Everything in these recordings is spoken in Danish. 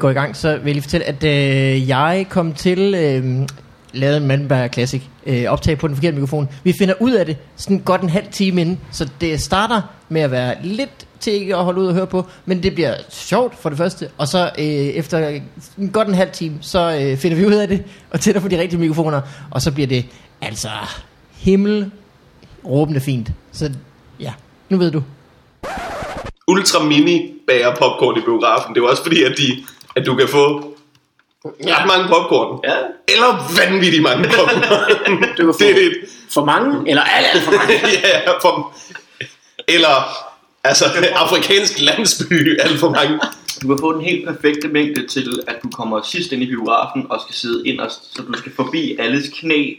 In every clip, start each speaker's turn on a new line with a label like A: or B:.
A: går i gang, så vil jeg lige fortælle, at øh, jeg kom til... Øh, lavede en Malmberg Classic øh, optag på den forkerte mikrofon. Vi finder ud af det sådan godt en halv time inden, så det starter med at være lidt til ikke at holde ud og høre på, men det bliver sjovt for det første, og så øh, efter en godt en halv time, så øh, finder vi ud af det, og tænder for de rigtige mikrofoner, og så bliver det altså himmel råbende fint. Så ja, nu ved du.
B: Ultra Mini bager popcorn i biografen. Det er jo også fordi, at, de, at du kan få ret mange popcorn.
C: Ja.
B: Eller vanvittigt mange popcorn.
C: Du kan få
B: det er det.
C: for mange, eller alt, alt for mange.
B: ja, for, eller altså afrikansk landsby, alt for mange.
D: Du kan få den helt perfekte mængde til, at du kommer sidst ind i biografen og skal sidde inderst, så du skal forbi alles knæ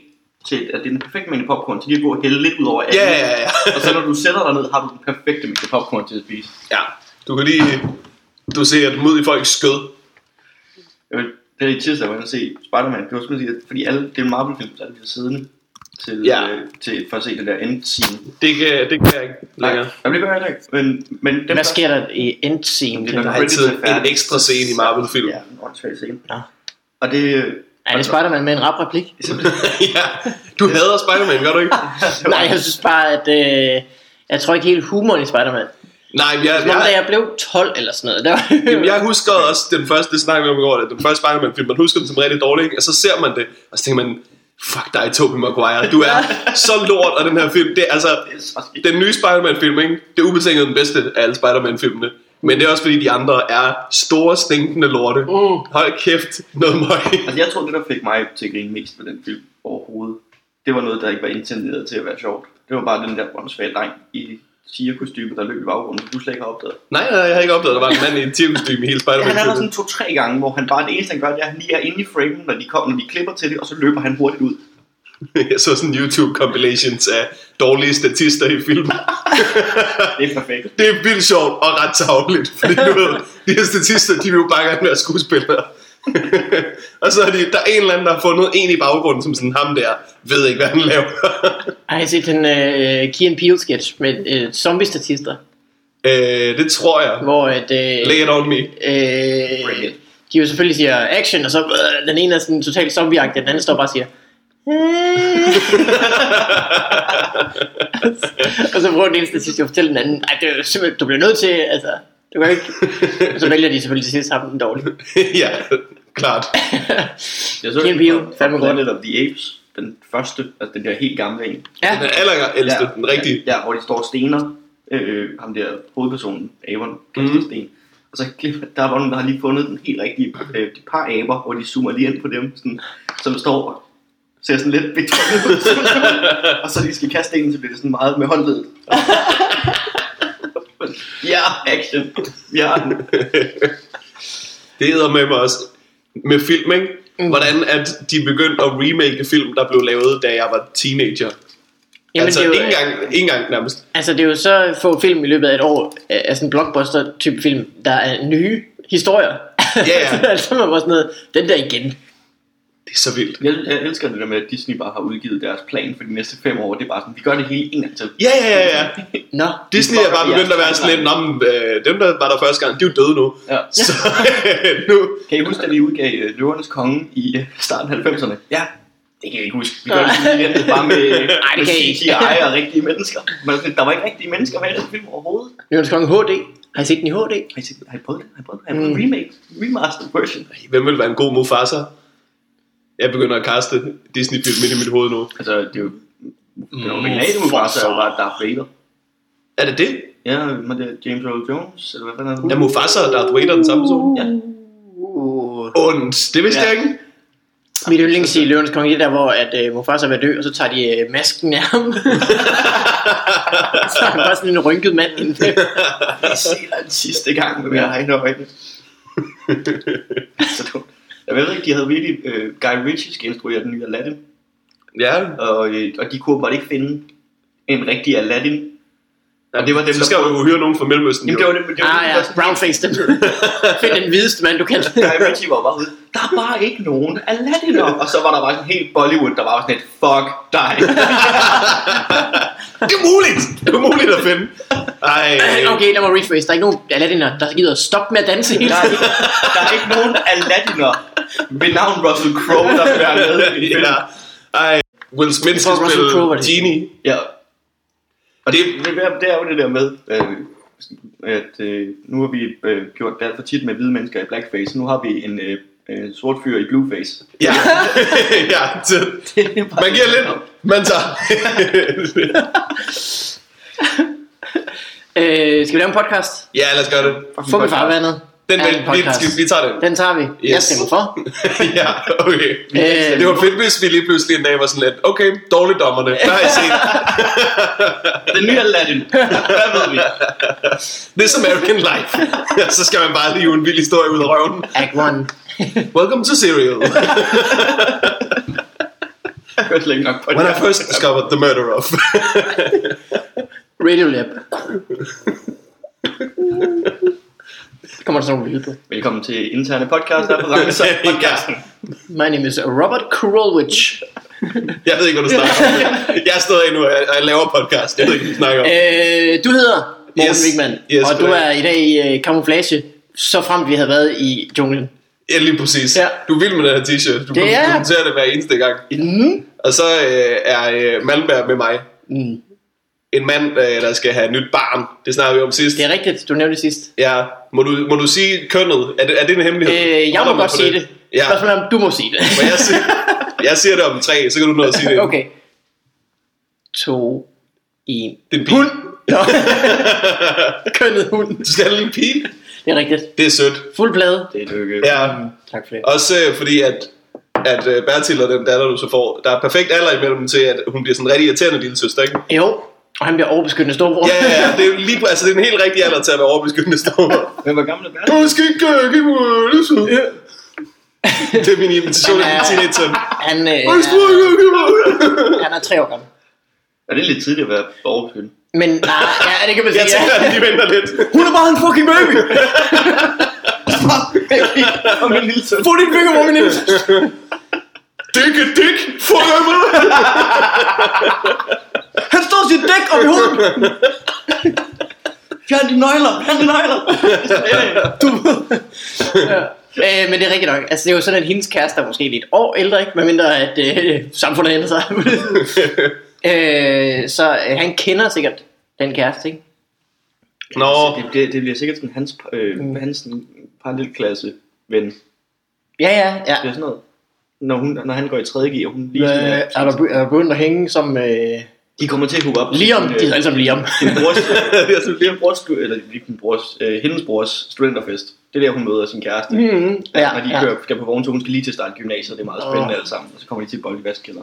D: til, at det er den perfekte mængde popcorn, så de kan gå og hælde lidt ud over alle.
B: Ja, ja, ja.
D: Og så når du sætter dig ned, har du den perfekte mængde popcorn til at spise.
B: ja. Du kan lige du ser et mod i folks skød.
D: Jeg ved, det er i tirsdag, hvor jeg var inde at se Spider-Man. Det var simpelthen fordi, fordi alle, det er en Marvel-film, så alle bliver siddende til,
B: Ja.
D: ja. øh, til, for at se det der endscene.
B: Det kan, det kan jeg ikke længere.
D: jeg bliver heller ikke. Men, men dem,
C: Hvad sker der i endscene?
D: Det
C: Det
D: er
B: Der
C: er,
B: er altid en ekstra scene i
D: der?
B: Marvel-film.
D: Ja, en åndssvag scene.
C: Nå.
D: Og det... øh,
C: er det Spider-Man med en rap replik?
B: ja. Du hader Spider-Man, gør du ikke?
C: Nej, jeg synes bare, at øh, jeg tror ikke helt humoren i Spider-Man.
B: Nej, men jeg,
C: Som om, da
B: jeg,
C: jeg blev 12 eller sådan noget. Der var,
B: Jamen, jeg husker også den første, det snakkede vi om i går, at den første Spider-Man-film, man husker den som rigtig dårlig, ikke? og så ser man det, og så tænker man, fuck dig, Tobey Maguire, du er så lort, og den her film, det er altså, den nye Spider-Man-film, ikke? det er ubetinget den bedste af alle Spider-Man-filmene, men det er også fordi, de andre er store, stinkende lorte. Mm. Hold kæft, noget møg.
D: Altså, jeg tror, det der fik mig til at grine mest med den film overhovedet, det var noget, der ikke var intenderet til at være sjovt. Det var bare den der åndssvage dreng i tigerkostyme, der løb i baggrunden, du slet ikke har opdaget.
B: Nej, nej, jeg har ikke opdaget, at der var en mand i en tirkostyme i hele
D: Han er der
B: Spider-Man-filmen.
D: sådan to-tre gange, hvor han bare det eneste, han gør, det er, at han lige er inde i framen, når de, kommer, når de klipper til det, og så løber han hurtigt ud.
B: Jeg så sådan YouTube-compilations af dårlige statister i filmen.
D: Det er perfekt.
B: det er vildt sjovt og ret tavligt, fordi du ved, de her statister, de vil jo bare gerne være skuespillere. og så er de, der er en eller anden, der har fundet en i baggrunden, som sådan ham der, ved ikke, hvad han laver.
C: har I set den øh, Key and Peele sketch med øh, zombie-statister?
B: øh, det tror jeg.
C: Hvor at, øh,
B: Lay it on me.
C: øh, de jo selvfølgelig siger action, og så øh, den ene er sådan totalt zombieagtig, og den anden står bare og siger, "Øh." og så prøver den ene statist jo at fortælle den anden, at det er jo simpelthen, du bliver nødt til, altså, du kan ikke. Og så vælger de selvfølgelig til sidst ham den dårlige.
B: ja, klart.
D: Jeg så
C: Key and Peele, fandme
D: fandme
C: godt.
D: godt. Planet of the Apes, den første, altså den der helt gamle en.
C: Ja,
B: Den allerældste, ja, den rigtige.
D: Ja, ja, hvor de står og stener. Øh, ham der hovedpersonen, Avon, kaster
B: Mhm.
D: mm. sten. Og så klipper- der er nogen, der har lige fundet den helt rigtige øh, de par aber, hvor de zoomer lige ind på dem, sådan, som står og ser sådan lidt betonet ud. og så de skal kaste stenen, så bliver det sådan meget med håndledet. ja, action. Ja,
B: Det hedder med mig også med film, ikke?
C: Mm.
B: Hvordan at de begyndte at remake film, der blev lavet, da jeg var teenager. Jamen, altså,
C: det er
B: ikke
C: jo-
B: engang, ikke engang nærmest.
C: Altså, det er jo så få film i løbet af et år, øh, altså en blockbuster-type film, der er nye historier.
B: Ja, ja.
C: altså, man var sådan noget, den der igen.
B: Det er så vildt.
D: jeg, jeg elsker det der med, at Disney bare har udgivet deres plan for de næste fem år. Det er bare sådan, vi gør det hele en gang til.
B: Ja, ja, ja, ja.
C: Nå,
B: Disney er bare begyndt at være sådan lidt, "Nå, men, øh, dem der var der første gang, de er jo døde nu.
D: Ja.
B: Så nu,
D: Kan I huske, da de udgav øh, Løvernes Konge i øh, starten af 90'erne? Ja. Det kan jeg ikke huske. Vi gør det sådan lige lidt bare med,
C: Nej, det kan I ikke.
D: med CGI og rigtige mennesker. Men sådan, der var ikke rigtige mennesker med i den film overhovedet.
C: Løvens Konge HD. Har I set den i HD?
D: Har I, set, har I prøvet det? Har I prøvet det? Har I prøvet mm. remake? Remastered version?
B: hvem vil være en god Mufasa? Jeg begynder at kaste Disney-film ind i mit hoved nu.
D: Altså, det er jo... Den
C: Mm,
D: originale Mufasa er jo bare Darth Vader.
B: Er det det?
D: Ja, men det er James Earl Jones, eller hvad fanden er
B: Er
D: det?
B: Mufasa og Darth Vader den samme person?
D: Ja.
C: Uh.
B: Und, det vidste
D: Ja.
B: jeg ikke.
C: Mit yndlings i Løvens Konge, det er der, hvor at, uh, Mufasa er ved at dø, og så tager de uh, masken af ham. så er han bare sådan en rynket mand inden
D: Jeg ser den sidste gang med mine egne øjne. Så dumt. Jeg ved ikke, de havde virkelig... Øh, Guy Ritchie skal instruere den nye Aladdin.
B: Ja,
D: og, øh, og de kunne bare ikke finde en rigtig Aladdin.
B: og det var dem, så
D: der-
B: skal jo hyre nogen fra Mellemøsten.
D: Jamen, det var det, det var
C: Ah
D: det,
C: ja,
D: der sådan-
C: brownface dem. Find den hvideste mand, du kan.
D: Guy Ritchie var bare ude, der er bare ikke nogen Aladdin. Og så var der bare sådan helt Bollywood, der var sådan et, fuck dig.
B: Det er umuligt! Det er umuligt at finde. Ej.
A: Okay, lad mig rephrase. Der er ikke nogen Aladdiner, der gider at stoppe med at danse hele
D: Der er,
A: tiden.
D: ikke, der er ikke nogen Aladdiner med navn Russell Crowe, der vil være med i filmen.
B: ja. Ej. Will Smith skal
A: tror, Russell
B: spille
A: Crowe var det.
B: Genie.
D: Ja. Og det,
B: Det-
D: det, er- det er jo det der med, øh, at øh, nu har vi øh, gjort det alt for tit med hvide mennesker i blackface, nu har vi en øh, øh, sort fyr i blueface.
B: Ja. ja. så- Man giver lidt, man tager.
A: Øh, skal vi lave en podcast?
B: ja, lad os gøre det.
A: Fuck med farvandet.
B: Den,
A: Ja,
B: den,
A: en
B: vi,
A: podcast.
B: skal, vi tager den.
A: Den tager vi. Yes. Jeg
B: Yes.
A: stemmer for.
B: ja, okay.
A: Øh,
B: Det var fedt, hvis vi lige pludselig en dag var sådan lidt, okay, dårlige dommerne, hvad har I set?
D: Den nye Aladdin. Hvad ved vi?
B: Det er som American Life. Så skal man bare lige en vild historie ud af røven.
A: Act 1.
B: Welcome to Serial.
D: Jeg hørte længe nok på
B: When I
D: det.
B: first discovered the murder of.
A: Radio Lab. Så kommer der sådan nogle lyde på.
D: Velkommen til interne podcast af Rangelser podcasten.
A: My name is Robert Krulwich.
B: Jeg ved ikke, hvad du snakker om. Jeg er stadig endnu, og jeg- og jeg laver podcast. Jeg ved ikke, hvad du snakker om.
A: Øh, du hedder Morten
B: Yes.
A: yes. Wigman,
B: Yes,
A: og du
B: goddag.
A: er i dag i øh, camouflage, så frem vi havde været i junglen.
B: Ja, lige præcis.
A: Ja.
B: Du er vild med den her t-shirt. Du
A: Det er jeg.
B: kommenterer det hver eneste gang.
A: Mm.
B: Og så øh, er øh, Malmberg med mig.
A: Mm.
B: En mand, øh, der skal have et nyt barn. Det snakker vi om sidst.
A: Det er rigtigt, du nævnte det sidst.
B: Ja, må du, må du sige kønnet? Er det, er det en hemmelighed?
A: Øh, jeg må
B: Holder man
A: godt
B: på
A: sige det.
B: Ja,
A: Spørgsmålet er, om du må sige det.
B: men jeg siger, jeg siger det om tre, så kan du nå at sige det.
A: Okay. To, en.
B: Det er en pige.
A: Kønnet hund.
B: Du skal have en pige.
A: Det er rigtigt.
B: Det er sødt.
A: Fuld plade.
D: Det er lykke.
B: Ja,
A: Tak for det.
B: også øh, fordi, at, at øh, Bertil og den datter, du så får, der er perfekt alder imellem dem til, at hun bliver sådan en rigtig irriterende lille søster, ikke?
A: Jo, og han bliver overbeskyttende storbror.
B: Ja, ja, ja, det er jo lige, altså det er en helt rigtig alder til at være overbeskyttende stor.
D: Men hvor gammel er Bertel?
B: Du skal ikke øh, give mig øh, det så. Det er min invitation til
A: Men,
B: min
A: øh,
B: teenage-søn.
A: Han, øh,
B: Du skal
A: er,
B: ikke give mig øh.
A: han er tre år gammel.
D: Er det lidt tidligt at være overfyldt?
A: Men nej, ja, det kan man
B: Jeg
A: sige.
B: tænker,
A: Ja.
B: at de venter lidt.
A: Hun er bare en fucking baby!
D: Og min lille søn.
A: Få din finger på min næse!
B: Dikke, dik, fuck mig!
A: Han står sit dæk om i hovedet!
D: Fjern de nøgler! Fjern de nøgler!
A: Du... ja. Øh, men det er rigtigt nok. Altså, det er jo sådan, at hendes kæreste er måske lidt år ældre, ikke? Medmindre at øh, samfundet ændrer sig. øh, så øh, han kender sikkert den kæreste, ikke?
B: Nå,
D: Det, det, det bliver sikkert sådan hans, øh, hans sådan parallelklasse ven.
A: Ja, ja, ja.
D: Det er sådan noget. Når, hun, når han går i 3.G, og hun lige sådan,
A: Øh, er, der, be- er der begyndt at hænge som øh,
D: De kommer til at hugge op. til
A: Liam?
D: sin,
A: De hedder alle sammen Liam.
D: Din brors, det er sådan, din brors, eller ikke din brors, øh, hendes brors studenterfest. Det er der, hun møder sin kæreste.
A: Mm, ja,
D: når de
A: ja.
D: kører, skal på vogntur, hun skal lige til at starte gymnasiet, det er meget spændende
A: Åh.
D: alt sammen. Og så kommer de til at bolle i vaskekælder.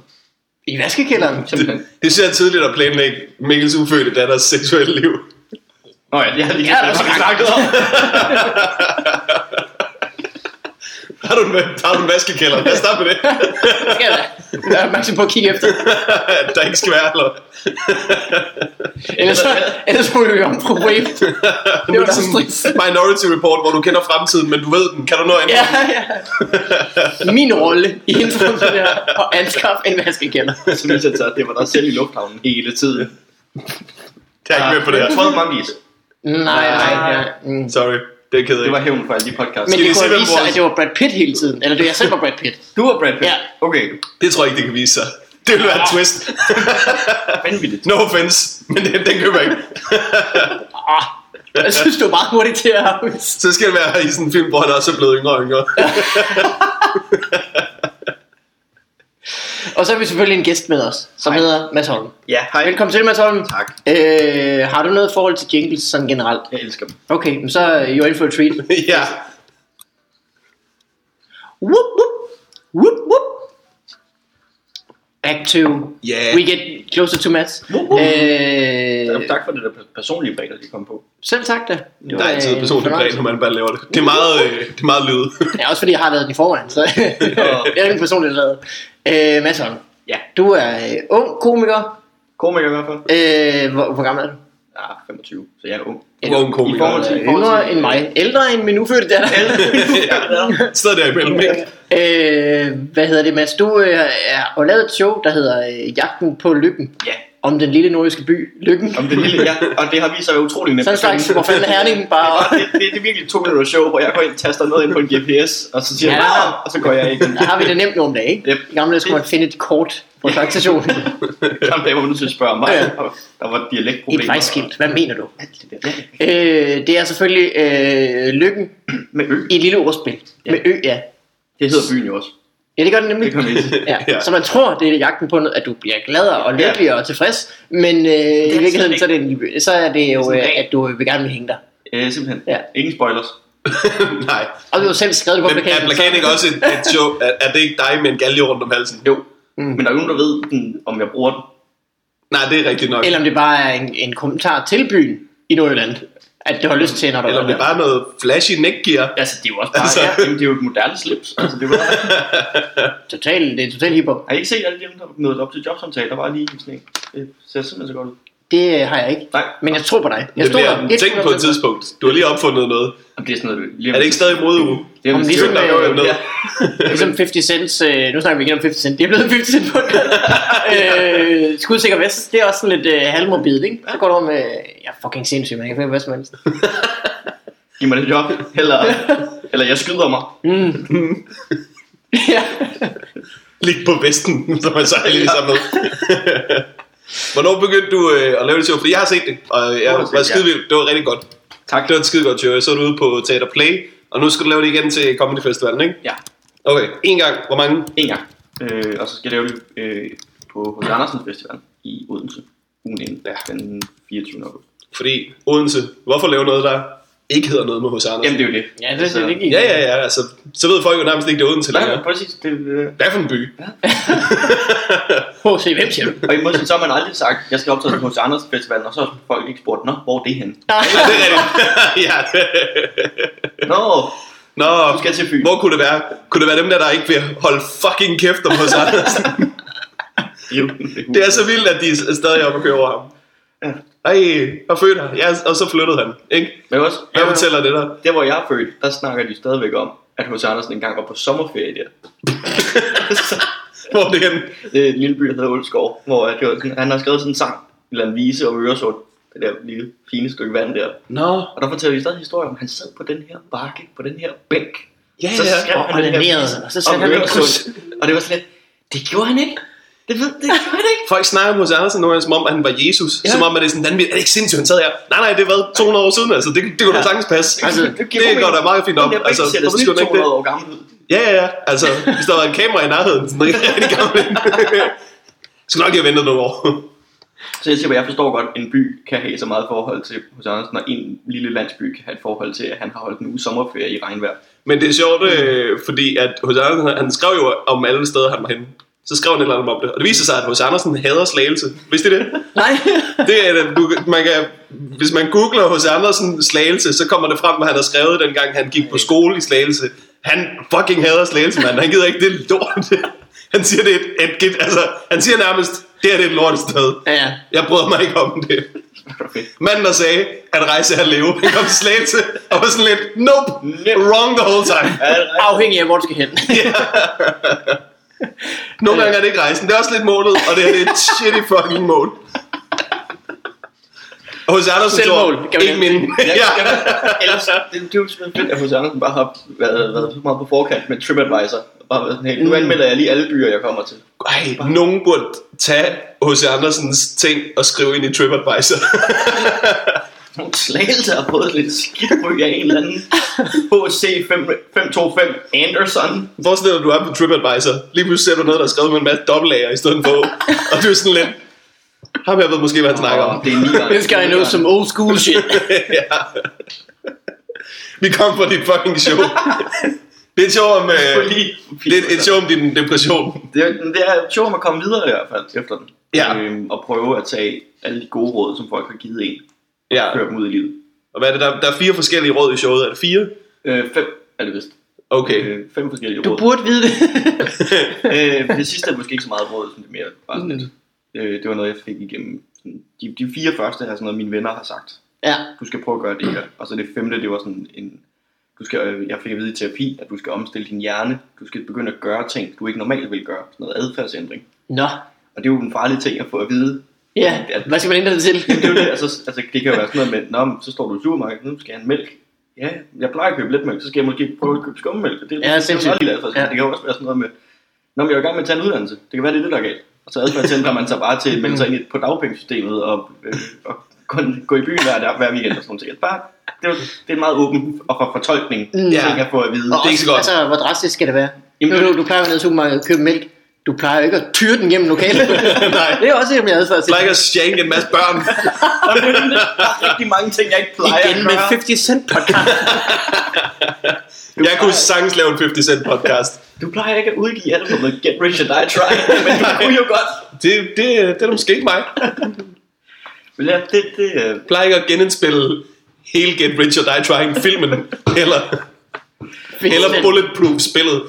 A: I vaskekælderen.
D: Simpelthen.
B: det synes jeg er tidligt at planlægge Mikkels ufødte datters seksuelle liv.
D: Nå ja, det har lige
A: Ja, der er så
D: har vi
A: langt.
D: snakket om.
B: Har du en, har du en vaskekælder? Lad os starte med det.
A: Skal jeg da være opmærksom på at kigge efter.
B: At der ikke skal være, eller?
A: Ellers, ellers må vi jo om på wave. Det var da stress.
B: Minority Report, hvor du kender fremtiden, men du ved den. Kan du nå ind?
A: Ja, ja. Min rolle i introen til det her, at anskaffe en vaskekælder.
D: Så viser det sig, at det var der selv i lufthavnen hele tiden.
B: Jeg er ikke med på det her.
D: Frød Monkeys.
A: Nej, nej, nej. Mm.
B: Sorry, det er ked af.
D: Det var hævn for alle de podcasts.
A: Men
B: vi
A: det
B: se,
A: kunne
B: hvem
A: jo vise sig,
B: vores-
A: at det var Brad Pitt hele tiden. Eller det jeg selv var Brad Pitt.
D: Du og Brad Pitt.
A: Ja.
D: Okay,
B: Det tror jeg ikke, det kan vise sig. Det vil være et twist.
D: vanvittigt.
B: No offense, men den, den køber jeg ikke.
A: Ah, jeg synes, du er meget hurtigt til at...
B: Så skal det være i sådan en film, hvor han også er blevet yngre og yngre.
A: Og så har vi selvfølgelig en gæst med os, som
D: Hej.
A: hedder Mads Holm.
D: Ja, hej.
A: Velkommen til, Mads Holm.
D: Tak.
A: Øh, har du noget forhold til jingles sådan generelt?
D: Jeg elsker dem.
A: Okay, men så er you're in for a treat.
B: ja.
A: Whoop, whoop, whoop, whoop. Back to...
B: Yeah.
A: We get closer to Mads.
D: Whoop, whoop.
A: Øh,
D: Tak for det der personlige bredder, de kom på.
A: selv tak da. Det
B: Der er altid
A: en
B: personligt
A: fornøjelse.
B: plan, når man bare laver det. Det er meget, øh, det er meget lyd.
A: Ja, også fordi jeg har lavet den i forvejen, så jeg er ikke personligt lavet. Øh, Mads Holm,
D: Ja,
A: du er øh, ung komiker.
D: komiker i hvert fald.
A: Øh, hvor, hvor gammel er du? Øh,
D: Ja, 25, så jeg er ung.
B: Du er en
D: I
B: komiker.
D: forhold til-
A: Yngre end mig. Ældre end min ufødte datter.
B: Stadig der imellem, ikke?
A: øh, hvad hedder det, Mads? Du øh, er, har lavet et show, der hedder øh, Jagten på Lykken.
D: Ja,
A: om den lille nordiske by, Lykken.
D: Om det lille, ja, og det har vi så utrolig nemt.
A: Sådan en slags, hvor fanden er herningen
D: Og
A: bare...
D: det, det, det, er virkelig to minutter show, hvor jeg går ind og taster noget ind på en GPS, og så siger
A: Ja.
D: jeg, ja. og så går jeg ind.
A: Der har vi det nemt nu om dagen, ikke?
D: Yep.
A: I gamle dage skulle man finde et kort på tankstationen.
D: Samme dag var man nødt til at spørge mig,
A: Ja.
D: og der var dialektproblemer.
A: Et vejskilt. Hvad mener du?
D: Alt det der.
A: Øh, det er selvfølgelig øh, Lykken
D: Med ø.
A: i et lille ordspil.
D: Ja.
A: Med ø, ja.
D: Det hedder byen jo også.
A: Ja, det gør den
D: Det
A: nemlig.
D: kan man ikke.
A: Ja.
B: Ja.
A: Så man tror, det er jagten på, noget, at du bliver gladere og lykkeligere og tilfreds, men øh, i virkeligheden
D: ikke.
A: så er, det en, så er det jo,
D: sådan
A: øh,
D: rent.
A: at du vil gerne vil hænge dig.
D: Øh, simpelthen.
A: Ja.
D: Ja. Ingen spoilers.
B: Nej.
A: Og du har selv skrevet det på
B: Men er
A: plakaten.
B: plakaten ikke også et, et show? Er, er, det ikke dig med en galge rundt om halsen?
D: Jo. Mm. Men der er jo nogen, der ved, den, om jeg bruger den.
B: Nej, det er rigtigt nok.
A: Eller om det bare er en, en kommentar til byen i Nordjylland, at du har lyst til, når du
B: Eller om det er bare noget flashy neckgear.
D: Altså, det er jo også bare,
B: Altså.
D: altså. ja, jamen, det er jo et moderne slips. Altså, det var,
A: Total, det er totalt hiphop.
D: har I ikke set alle dem, der mødte op til jobsamtaler? Der var lige sådan en. Det ser simpelthen så godt ud.
A: Det øh, har jeg ikke.
D: Nej,
A: Men jeg tror på dig. Jeg
B: Det
A: der
B: bliver tænkt på et
A: 100%
B: tidspunkt. Du har lige opfundet noget.
D: Jamen, det er sådan noget. Lige om-
B: Er det ikke stadig modeuge?
D: Det er jo
A: Om
D: en
A: ligesom,
D: ligesom, der
A: øh,
D: jo ned.
B: ja.
A: Ligesom 50 Cent, øh, nu snakker vi igen om 50 Cent, det er blevet 50 Cent på øh, Skudsikker Vest, det er også sådan lidt øh, halvmorbid, ikke? Så går du om, øh, jeg er fucking sindssyg, man jeg kan finde hvad som helst.
D: Giv mig det job. Eller, eller jeg skyder mig.
A: ja.
B: Lig på vesten, som man så lige sammen med. Hvornår begyndte du øh, at lave det show? Fordi jeg har set det, og jeg
D: Du har set,
B: var
D: ja.
B: skide vild. Det var rigtig godt.
D: Tak.
B: Det var et skide godt show. Jeg så det ude på Teater Play, og nu skal du lave det igen til Comedy Festivalen, ikke?
D: Ja,
B: Okay, en gang. Hvor mange?
D: en gang. Øh, og så skal jeg lave det øh, på H.C. Andersen Festival i Odense. Ugen inden, ja. den 24. august.
B: Fordi Odense, hvorfor lave noget, der ikke hedder noget med hos Anders?
D: Jamen, det er jo det.
A: ja, det er
D: Så-
A: sådan ikke
B: Ja, ja, ja, altså, så ved folk jo nærmest ikke, det er Odense
D: Nej, ja.
B: længere.
D: præcis. Det, øh,
B: Hvad for en by?
A: H.C. Hvem siger du?
D: og i modsætning så har man aldrig sagt, jeg skal optræde på H.C. Andersen Festival, og så har folk ikke spurgt, nå, hvor er det henne?
B: Ja, det er rigtigt. ja.
D: Nå,
B: Nå,
D: du skal til Fyn.
B: hvor kunne det være? Kunne det være dem der, der ikke vil holde fucking kæft om hos Andersen?
D: Jo,
B: Det er så vildt, at de er stadig oppe og kører over ham.
D: Ja.
B: Ej, og fødte han. Ja, og så flyttede han, ikke?
D: Men også,
B: Hvad ja. fortæller det der?
D: Der hvor jeg er født, der snakker de stadigvæk om, at H.C. Andersen engang var på sommerferie der.
B: Hvor er det henne?
D: Det er en lille by, der hedder Ulskov, hvor at det var sådan, han har skrevet sådan en sang, eller en vise om Øresund, det der lille fine stykke vand der.
A: Nå.
D: Og der fortæller de stadig historier om, at han sad på den her bakke, på den her bænk.
B: Ja,
D: så
B: ja.
D: skrev
A: Og
D: han den her
A: ordinerede,
D: vise
A: og så satte
D: om
A: han den
D: Øresund. Og det var sådan lidt, det gjorde han ikke. Det, ved, det gjorde han ikke.
B: Folk snakker om hos Andersen nogle gange, som om at han var Jesus. Ja.
D: Ja.
B: Som om, at det er sådan, "Vanvittigt, er det ikke sindssygt, han sad her? Nej, nej, det var 200 år siden, altså. Det, det kunne da sagtens passe.
A: Altså,
B: det, det går da meget fint op.
D: Den der bænk
B: Altså,
D: ser da
B: hvorfor skulle
D: snit
B: han ikke det?
D: 200 år gammel ud.
B: Ja, ja, ja. Altså, hvis der var et kamera i nærheden, sådan en rigtig gammel en. Skulle nok have ventet nogle år.
D: Så jeg siger, at jeg forstår godt, at en by kan have så meget forhold til hos Andersen, og en lille landsby kan have et forhold til, at han har holdt en uge sommerferie i regnvejr.
B: Men det er sjovt, øh, fordi at H.C. Andersen, han skrev jo om alle steder, han var henne. Så skrev han et eller andet om det. Og det viser sig, at H.C. Andersen hader slagelse. Vidste I det?
A: Nej.
B: det er, det, du, man kan, hvis man googler hos Andersen slagelse, så kommer det frem, hvad han har skrevet, dengang han gik på skole i slagelse. Han fucking hader slagelse, mand. Han gider ikke det lort. Han siger, det er et, et, et, altså, han siger nærmest, det her det er et lort sted.
A: Ja, ja.
B: Jeg bryder mig ikke om det.
D: Perfekt.
B: Manden, der sagde, at rejse er at leve, han kom til slagelse, og var sådan lidt, nope, wrong the whole time.
A: Afhængig af, hvor du skal hen.
B: Nogle gange er det ikke rejsen. Det er også lidt målet, og det her det er et shitty fucking mål. Hos Andersen
A: Selvmål,
B: tror,
A: kan man
B: ikke min. ja.
D: Ellers, det, det er jo simpelthen fedt, at H.C. Andersen bare har været, været så meget på forkant med TripAdvisor. Og bare været sådan, hey, nu
B: Mm.
D: anmelder jeg lige alle byer, jeg kommer til.
B: Ej, nogen burde tage H.C. Andersens ting og skrive ind i TripAdvisor.
D: Nogle slagelse har fået lidt skidt ryg af en eller anden. H.C. 525 Anderson.
B: Forestil dig, at du er på TripAdvisor. Lige pludselig ser du noget, der er skrevet med en masse dobbeltlager i stedet for. Og du er sådan lidt... Ham her ved måske, hvad han snakker om.
D: Åh, Det er nieren.
A: Det skal jeg nå som old school shit.
B: ja. Vi kom på dit fucking show. Det er et show om... Øh, det er et show om din depression.
D: Det, er- det er sjovt at komme videre i hvert fald efter den.
B: Ja.
D: Øhm, og prøve at tage alle de gode råd, som folk har givet en,
B: Ja.
D: og køre dem ud i livet.
B: Og hvad er det, der, der er fire forskellige råd i showet. Er det fire?
D: Øh, fem er det vist.
B: Okay.
D: Øh, fem forskellige
A: Du
D: råd.
A: burde vide det.
D: øh, det sidste er måske ikke så meget råd, som det mere bare sådan lidt. Øh, det var noget, jeg fik igennem. sådan, De, de fire første er sådan noget, mine venner har sagt.
A: Ja.
D: Du skal prøve at gøre det her. Og så det femte, det var sådan en... Du skal, øh, jeg fik at vide i terapi, at du skal omstille din hjerne. Du skal begynde at gøre ting, du ikke normalt vil gøre. Sådan noget adfærdsændring.
A: Nå.
D: Og det er jo den farlige ting at få at vide
C: Ja, hvad skal man ændre det til?
D: Det, er jo det, altså, altså, det kan jo være sådan noget med, Nå, men så står du i supermarkedet, nu skal jeg have en mælk. Ja, jeg plejer at købe lidt mælk, så skal jeg måske prøve at købe skummemælk. og Det,
C: Ja,
D: det, det,
C: sindssygt.
D: det, det, det,
C: Ja.
D: altså. det kan jo også være sådan noget med, Nå, men jeg er i gang med at tage en uddannelse. Det kan være, det er det, der er galt. Og så adfærdsændrer man sig bare til at
C: Mm.
D: melde sig ind i- på dagpengesystemet og, øh, og kun gå i byen hver, dag, hver weekend og sådan noget. Bare, det, er, jo- det er en meget åben og for fortolkning,
C: Mm.
D: mm.
B: Ja.
D: ting jeg får at vide.
C: Og
B: Det er ikke så godt.
C: også, Altså, hvor drastisk skal det være?
D: Jamen,
C: Jamen,
D: det-
C: du, du, plejer jo ned i supermarkedet og købe mælk. Du plejer jo ikke at tyre den gennem lokalet.
B: Nej.
C: det er også en af mine adfærd til.
B: Plejer ikke at shanke en masse børn.
D: Der er rigtig mange ting, jeg ikke plejer
C: Igen
D: at
C: med
D: gøre.
C: 50 Cent podcast.
B: Jeg kunne sagtens lave en 50 Cent podcast.
D: Du plejer ikke at udgive albumet Get Rich or Die Trying, men du kunne jo godt.
B: Det, det, det er da måske ikke mig.
D: Men ja, det, det, øh,
B: Plejer ikke at genindspille hele Get Rich or Die Trying filmen. Eller, eller Bulletproof spillet.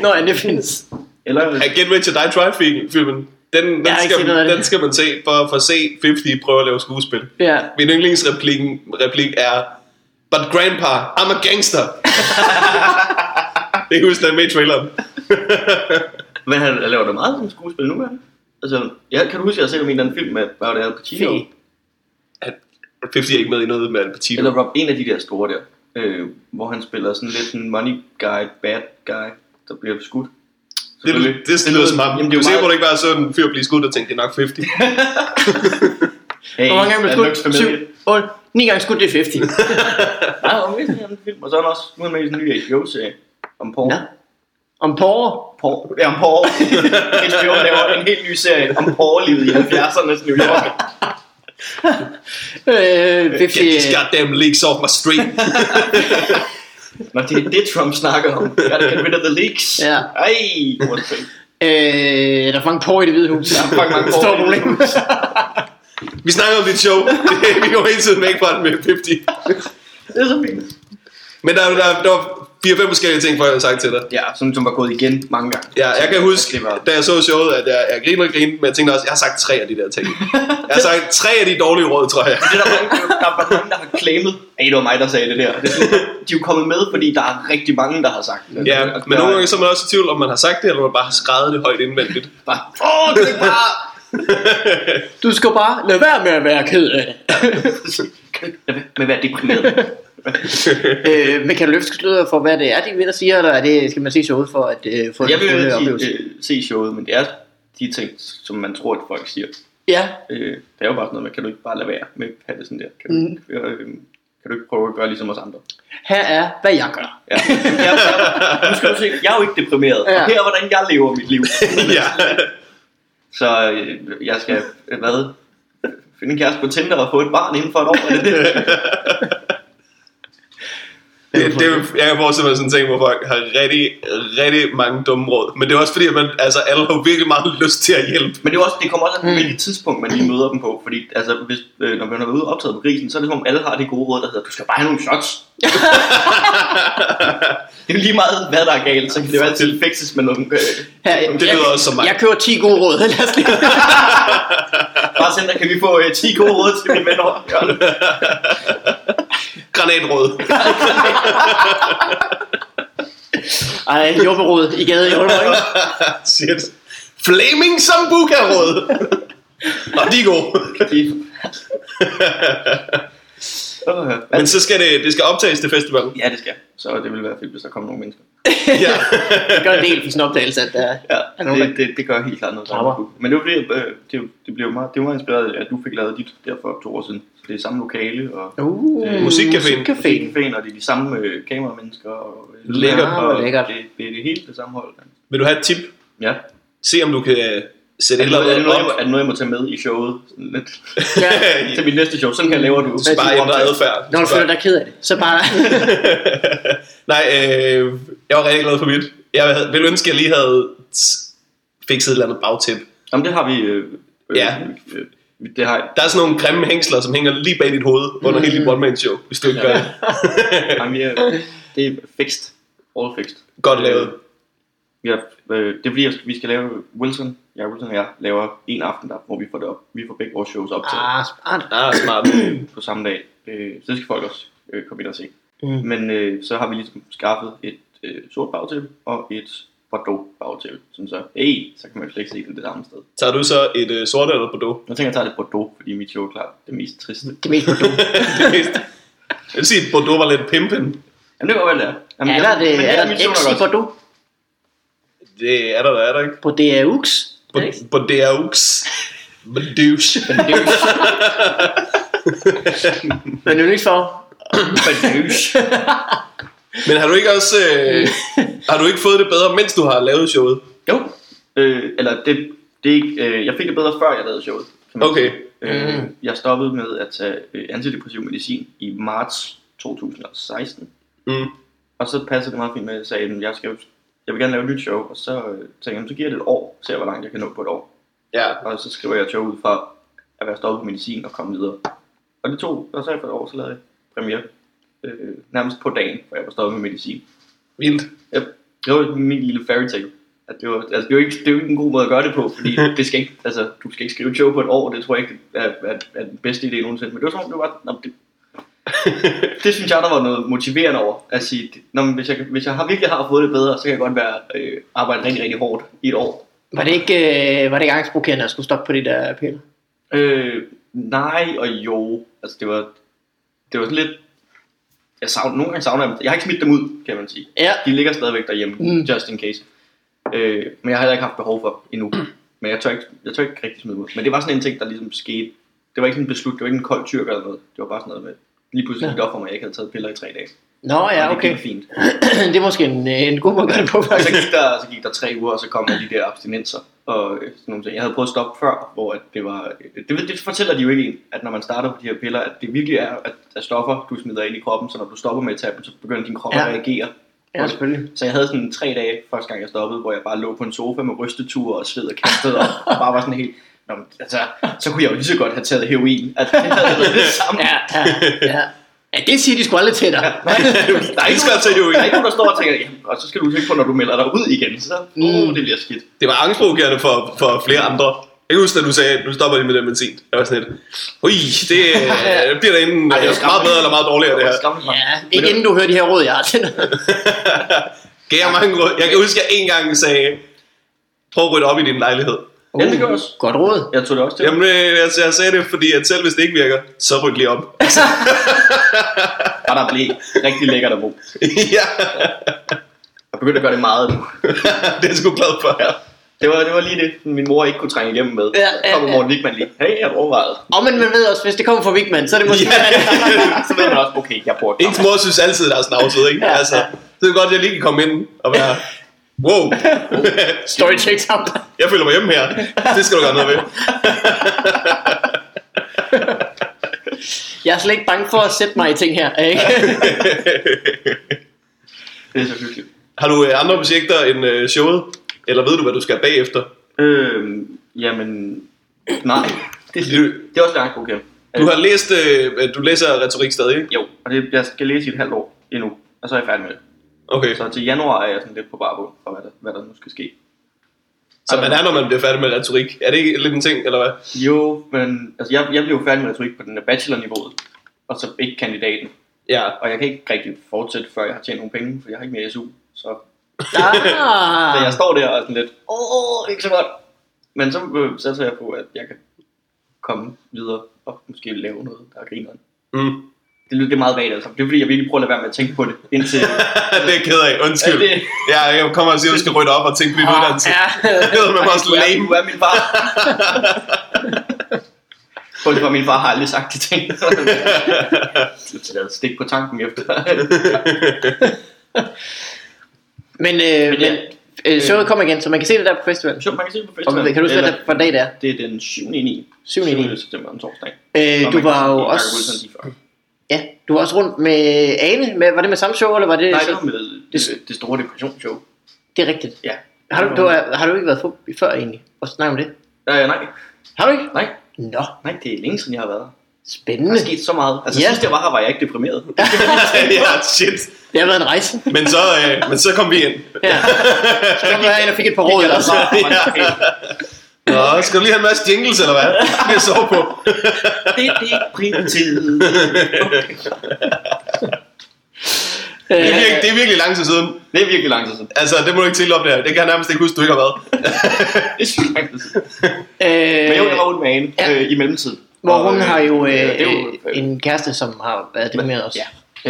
C: Nå, ja, det findes.
D: eller,
B: Ja, Get Rich or Die Trying fi- filmen. Den, den,
C: Jeg har ikke
B: skal,
C: set noget af det.
B: den skal man se for, for at se 50 prøve at lave skuespil.
C: Ja.
B: Min yndlingsreplik replik er But grandpa, I'm a gangster Det kan jeg huske, der er med i traileren
D: men han han laver da meget som skuespil nu, gør han? Altså, ja, kan du huske, at jeg har set om en eller anden film med, hvad var det, Al Pacino?
C: Fe.
B: 50 er ikke med i noget med Al Pacino
D: Eller Rob, en af de der store der, øh, hvor han spiller sådan lidt en money guy, bad guy, der bliver skudt.
B: det,
D: Selvfølgelig.
B: det, det lyder som ham
D: Jamen,
B: Jamen,
D: det
B: Du
D: er jo
B: ser, hvor
D: meget...
B: du ikke bare så en fyr blive skudt og tænkte, det er nok 50
D: Hey,
C: Hvor mange gange
D: er
C: blev
D: Lux
C: skudt?
D: familie?
C: 7, 8, 9 gange skudt, det er 50.
D: Ja, og han er med i sådan en film. Og så er han også nu er han med i sådan en ny HBO-serie om porno.
C: Nå. Om porre.
D: Por- ja, om porre. HBO laver en helt ny serie om porrelivet i 70'ernes New York.
C: Øh,
B: Get these
C: 50,
B: goddamn leaks off my street
D: Nå, det er det, Trump snakker om. Gotta get rid of the leaks.
C: Ja.
D: Ej, hvor er det fedt.
C: øh, der er for mange porre i det hvide hus.
D: Der er fucking mange
C: Stort
D: porre i Det
C: problem.
D: Hvide
B: Vi snakker om dit show Vi går hele tiden væk fra det med 50
D: Det er så fint.
B: Men der, er- der, er- der var 4-5 forskellige ting, før jeg har sagt til dig
D: Ja, sådan som ligesom var gået igen mange gange.
B: Ja, jeg kan huske,
D: Det var-
B: da jeg så showet, at jeg, jeg griner og griner, men jeg tænkte også, jeg har sagt tre af de der ting. Jeg har sagt tre af de dårlige råd, tror jeg.
D: Det er der, mange, der er mange, der har claimet, at det var mig, der sagde det der. Det er sådan, de er jo kommet med, fordi der er rigtig mange, der har sagt det.
B: Ja,
D: Og
B: men
D: der-
B: nogle gange så er man også i tvivl, om man har sagt det, eller man bare har skrevet det højt indvendigt.
D: Bare, Åh, det er bare...
C: Du skal bare lade være med at være ked af det.
D: Kan du lade være med at være deprimeret?
C: Øh, men kan du løfte sløret for, hvad det er, de vinder siger, eller er det, skal man se showet for at øh, få
D: Jeg vil
C: en
D: jo
C: fulde
D: ikke
C: oplevelse?
D: øh, se showet, men det er de ting, som man tror, at folk siger.
C: Ja,
D: Øh, det er jo bare sådan noget med, kan du ikke bare lade være med at have det sådan der? Kan du,
C: Mm.
D: ikke, øh, kan du ikke prøve at gøre ligesom os andre?
C: her er, hvad jeg gør.
D: Ja. Jeg, jeg, nu skal du se, jeg er jo ikke deprimeret, ja.
C: Ja.
D: og her er, hvordan jeg lever mit liv.
B: ja.
D: Så øh, jeg skal, øh, hvad, finde en kæreste på Tinder og få et barn inden for et år. Er det det?
B: Det, det, jeg kan forestille mig sådan en ting, hvor folk har rigtig, rigtig mange dumme råd. Men det er også fordi, at man, altså, alle har virkelig meget lyst til at hjælpe.
D: Men det, er jo også, det kommer også an på,
C: Mm.
D: hvilket tidspunkt man lige møder dem på. Fordi altså, hvis, øh, når man er ude og optaget på grisen, så er det som om alle har det gode råd, der hedder, du skal bare have nogle shots. det er jo lige meget, hvad der er galt, så kan det jo altid fikses med nogle... Øh,
C: Her,
B: Det lyder også som mig.
C: Jeg kører 10 gode råd. Lad os lige.
D: bare sådan, der kan vi få øh, 10 gode råd til min ven over i hjørnet.
B: Granatråd.
C: Ej, jobberåd i gaden i Aalborg. ikke?
B: Shit. Flaming Sambuca-råd. Og de er gode.
D: De- Åh, ja.
B: Men så skal det, det skal optages til festivalen.
D: Ja, det skal. Så det ville være fedt, hvis der kom nogle mennesker.
B: Ja.
C: Det gør en del for sådan en opdagelse, at der
D: Ja,
C: er nogen, der...
D: det, det, det gør helt klart noget.
C: Klapper.
D: sammen. Men det var fordi, øh, det, det blev meget, det var meget inspireret af, at du fik lavet dit der for to år siden. Så det er samme lokale, og
C: Uh,
B: Musikcaféen.
C: musikcaféen.
D: caféen, og det er de samme øh, kameramennesker. Og, øh,
B: Lækkert.
D: og
C: Ah, lækkert.
D: Det, det, er det hele det samme hold.
B: Vil du have et tip?
D: Ja.
B: Se om du kan øh, sætte
D: Er
B: et
D: det,
B: eller
D: noget, er, det
B: andet
D: noget, jeg
B: op.
D: må- er det noget, jeg må tage med i showet? Sådan lidt.
C: Ja.
D: til mit næste show. Sådan her laver du.
B: Bare ændre adfærd.
C: Når du føler dig ked af det, så bare...
B: Nej, øh, jeg var rigtig glad for mit. Jeg havde- ville ønske, at jeg lige havde t- fikset et eller andet bagtæp.
D: Jamen, det har vi... Øh, øh,
B: Ja.
D: Øh, det har jeg.
B: Der er sådan nogle grimme hængsler, som hænger lige bag dit hoved under hele dit one-man-show, hvis du ikke gør det.
D: Jamen, vi er, det er fixed. All fixed.
B: Godt lavet.
D: Ja, øh, det er fordi, jeg skal- vi skal lave Wilson. Ja, Wilson og jeg laver en aften, der, hvor vi får, det op. Vi får begge vores shows optaget
C: Ah, smart.
B: Ah, smart.
D: på samme dag. Øh, så det skal folk også øh, komme ind og se.
C: Mm.
D: Men øh, så har vi ligesom skaffet et øh, sort bagtæppe og et Bordeaux bagtil, synes jeg. Hey, så kan man slet ikke se den det samme sted.
B: Tager du så et øh, sort eller Bordeaux?
D: Jeg tænker, jeg tager det Bordeaux, fordi mit show er klart det mest triste.
C: Det mest på
B: Jeg vil sige, at Bordeaux var lidt pimpen.
D: Jamen, det kan godt være, det er. Jamen,
C: Er
D: jeg-
C: der, det,
D: men
C: er der
D: mit
C: et
D: show
C: X
D: nok
C: i
D: også.
C: Bordeaux?
B: Det er der, der er der ikke.
C: På DAUX? Er det ikke?
B: Bo- Bordeaux. Bordeaux.
C: Men yndlingsfarve?
B: Men har du ikke også øh, har du ikke fået det bedre, mens du har lavet showet?
D: Jo, øh, eller det, det er ikke, øh, jeg fik det bedre, før jeg lavede showet. kan man
B: Okay.
D: Øh, jeg stoppede med at tage øh, antidepressiv medicin i marts 2016.
B: Mm.
D: Og så passede det meget fint med, at jeg sagde, at jeg, skal, jo- jeg vil gerne lave et nyt show. Og så øh, tænkte jeg, "Jamen, så giver det et år, ser hvor langt jeg kan nå på et år.
B: Ja.
D: Og så skriver jeg et show ud fra at være stoppet på medicin og komme videre. Og det tog, og så efter et år, så lavede jeg premiere. Øh, nærmest på dagen, hvor jeg var stoppet med medicin.
B: Vildt.
D: Yep. Det var min lille fairy tale. At det, var, altså, det, er jo ikke, det er jo ikke en god måde at gøre det på, fordi det skal ikke, altså, du skal ikke skrive et show på et år, det tror jeg ikke er, er, er den bedste idé nogensinde. Men det var som om, det var, nå, det, det synes jeg, der var noget motiverende over, at sige, det- nå, men hvis, jeg, hvis jeg har, virkelig har fået det bedre, så kan jeg godt være, øh, arbejde rigtig, rigtig hårdt i et år.
C: Var det ikke, øh, var det ikke angstprovokerende at skulle stoppe på de der piller?
D: Øh, nej og jo, altså det var, det var sådan lidt, jeg savner, nogle gange savner jeg dem. Jeg har ikke smidt dem ud, kan man sige.
C: Ja.
D: De ligger stadigvæk derhjemme,
C: Mm.
D: mm. just in case. Øh, men jeg har heller ikke haft behov for dem endnu. Men jeg tør, ikke, jeg tør ikke rigtig smide dem ud. Men det var sådan en ting, der ligesom skete. Det var ikke sådan en beslut, det var ikke en kold tyrk eller noget. Det var bare sådan noget med, lige pludselig gik det op for mig, at jeg ikke havde taget piller i tre dage.
C: Nå ja,
D: Og det
C: okay.
D: gik fint.
C: det er måske en, øh, en god måde at gøre det på,
D: Og så
C: faktisk.
D: gik, der, så gik der tre uger, og så kom alle de der abstinenser og øh, sådan nogle ting. Jeg havde prøvet at stoppe før, hvor at det var... øh, Det, det fortæller de jo ikke en, at når man starter på de her piller, at det virkelig er at, at stoffer, du smider ind i kroppen, så når du stopper med at tage dem, så begynder din krop
C: Ja.
D: ja. at reagere.
C: Ja, selvfølgelig.
D: Så jeg havde sådan tre dage, første gang jeg stoppede, hvor jeg bare lå på en sofa med rysteture og sved og kastede op, og bare var sådan helt... Nå, men, altså, så kunne jeg jo lige så godt have taget heroin. Altså, det havde været det samme.
C: Ja, ja, ja. Ja, det siger de sgu aldrig til dig.
D: Nej,
B: Der er ikke svært til jo
D: der er ikke nogen, der står og tænker, ja, og så skal du tænke på, når du melder dig ud igen, så
B: Mm.
D: uh, det bliver skidt.
B: Det var angstprovokerende for, for flere andre. Jeg kan huske, at du sagde, at nu stopper de med den benzin. Jeg var sådan lidt, ui, det øh, bliver da enten
D: Ej, det
B: øh,
D: var skræmmende.
B: meget bedre eller meget dårligere det her.
D: Skræmmende.
C: Ja, ikke inden du hører de her råd, jeg har til dig.
B: Gav jeg mange råd. Jeg kan huske, at jeg en gang sagde, prøv at rydde op i din lejlighed.
D: Ja, det gør også.
C: Godt råd.
D: Jeg tog det også til.
B: Jamen, øh, altså, jeg sagde det, fordi at selv hvis det ikke virker, så ryk lige op.
D: Og der blev rigtig lækkert at bo.
B: ja,
D: Jeg begyndte at gøre det meget nu.
B: det er jeg sgu glad for. Ja.
D: Det var, det var lige det, min mor ikke kunne trænge igennem med.
C: Ja, ja,
D: Så kommer
C: ja.
D: Morten Wigman lige, hey, jeg har overvejet.
C: Og men man ved også, hvis det kommer fra Vigman, så er det måske...
D: Så ved man også, okay, jeg bor
B: Ens mor synes altid, der er snavset, ikke?
C: Ja,
B: Altså,
C: ja.
B: så er det godt, at jeg lige kan komme ind og være... Wow,
C: Story checks out.
B: jeg føler mig hjemme her. Det skal du gøre noget ved.
C: Jeg er slet ikke bange for at sætte mig i ting her, ikke?
D: Det er så hyggeligt.
B: Har du øh, andre projekter end øh, showet? Eller ved du, hvad du skal bagefter?
D: Øhm, jamen, nej. Det,
B: Du-
D: det er også langt, okay. Øh,
B: Du har læst, øh, du læser retorik stadig, ikke?
D: Jo, og det, jeg skal læse i et halvt år endnu, og så er jeg færdig med det.
B: Okay,
D: Så til januar er jeg sådan lidt på barbund for, hvad der, hvad der nu skal ske.
B: så man er, når man bliver færdig med retorik. Er det ikke lidt en ting, eller hvad?
D: Jo, men altså, jeg, jeg blev jo færdig med retorik på den der bachelorniveauet, og så ikke kandidaten.
B: Ja,
D: Og jeg kan ikke rigtig fortsætte, før jeg har tjent nogle penge, for jeg har ikke mere SU. Så, så
C: Ah,
D: jeg står der og er sådan lidt, åh, ikke så godt. Men så øh, satser jeg på, at jeg kan komme videre og måske lave noget, der er grineren.
B: mm.
D: Det lyder det er meget vagt altså. Det er fordi, jeg virkelig prøver at lade være med at tænke på det, indtil...
B: det er jeg ked af, undskyld.
D: Ja, det- Ah,
B: Ja, jeg kommer og siger, at du skal rydde op og tænke på din uddannelse.
C: ja.
B: Det er man også
D: du, er,
B: lame.
D: du er min far. Kun for min far har aldrig sagt de ting. Så det er stik på tanken efter.
C: Men, øh, men,
D: Men ja.
C: øh, showet kommer igen, så man kan se det der på festivalen.
D: Sjovt, man kan se det på
C: Og
D: festivalen.
C: kan du huske, hvad
D: Eller-
C: det- hvad dag det er?
D: Det er den 7. 9.
C: 7. 9.
D: september, en torsdag.
C: Øh, du
D: Og man kan
C: var
D: se
C: jo
D: Mark
C: også,
D: Wilson lige før.
C: ja, du var også rundt med Ane. Med, var det med samme show, eller var det...
D: Nej, det
C: så,
D: var med øh, det, det store depressionsshow.
C: det er rigtigt.
D: Ja.
C: Har du, du, har, har du ikke været forbi før egentlig? Og snakke om det?
D: Øh, nej,
C: Har du ikke?
D: nej,
C: Nå,
D: nej, det er længe siden, jeg har været her. Der
C: spændende.
D: er sket så meget. Altså,
C: Ja.
D: sidst jeg var her, var jeg ikke deprimeret.
B: ja, shit.
C: Det har været en rejse.
B: Men så, øh, men så kom vi ind.
C: Ja. Så kom jeg ind og fik et par råd.
D: Eller
C: Eller
D: så
C: sådan.
D: var man okay.
B: Nå, skal du lige have en masse jingles, eller hvad? Det så på.
D: Det, det er ikke primtid.
A: Øh,
B: Det er, virkelig, det er virkelig lang tid siden.
D: Det er virkelig lang tid siden.
B: Altså, det må du ikke tælle op der. Det kan jeg nærmest ikke huske, du ikke har været.
D: Det er sygt lang tid siden.
A: Øh,
D: Men jo, jeg var old man
A: ja.
D: øh, i mellemtiden.
A: Hvor
D: Og,
A: hun
D: øh,
A: har jo
D: øh,
A: øh,
D: det er jo-
A: øh, en kæreste, som har været det med os.
D: Ja.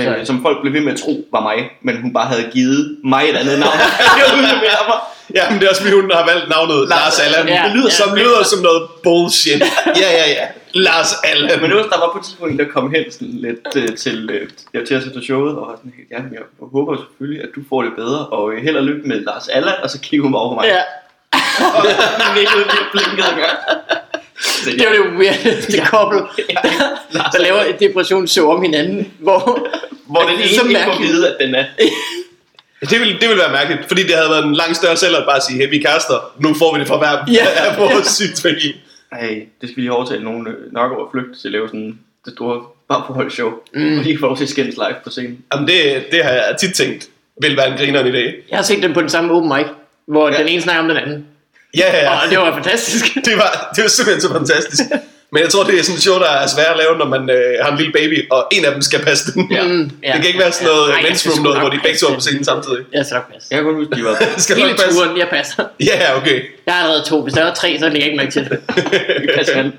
A: Så-
D: Øh, som folk blev ved med at tro var mig, men hun bare havde givet mig et andet navn. Jeg udleverer mig.
B: Ja, men det er også fordi, hun har valgt navnet Lars Allan.
A: Ja,
B: Det lyder,
A: ja.
B: som, lyder som noget bullshit. Ja, ja, ja. Lars Allan.
D: Men det var, der var på et tidspunkt, en, der kom hen sådan lidt øh, til, øh, jeg til at sætte showet, og var sådan helt, ja, men jeg håber selvfølgelig, at du får det bedre, og øh, held og lykke med Lars Allan, og så kiggede hun bare over på mig.
A: ja.
D: Og hun nikkede lige og blinkede en gang. Så
A: Det
D: jeg,
A: var det weirdeste ja. couple, der, der laver et depressionsshow om hinanden, hvor,
D: hvor ligesom den
A: det er
D: ene
A: så
D: ikke må
A: mærkeligt.
D: vide, at den er.
B: Det ville, det ville være mærkeligt, fordi det havde været en langt større sælger at bare sige, hey, vi er kærester, nu får vi det fra hver
A: Ja.
B: af vores synsvinkel.
D: Ej, det skal vi lige overtale nogen øh, nok over at flygte til at lave sådan det store bagforholdsshow, mm. og de kan få lov til at skændes live på scenen.
B: Jamen, det, det har jeg tit tænkt, vil være en grineren i dag.
A: Jeg har set den på den samme open mic, hvor ja. den ene snakker om den anden.
B: Ja, ja,
A: Og
B: ja.
A: det var fantastisk.
B: Det var, det var simpelthen så fantastisk. Men jeg tror, det er sådan et show, der er svært at lave, når man øh, har en lille baby, og en af dem skal passe den. Ja.
A: Mm, ja.
B: Det kan ikke være sådan noget
A: Ej, jeg
B: men's
A: skal
B: room
A: sgu
B: noget,
A: nok
B: hvor de begge to er på scenen samtidig.
A: Jeg skal nok passe.
D: Jeg kan kun huske, de var
B: Skal du
A: Hele
B: ikke passe?
A: turen, jeg passer.
B: Ja, yeah, okay.
A: Jeg har allerede to. Hvis der var tre, så lægger jeg ikke mærke til det.
D: vi passer an.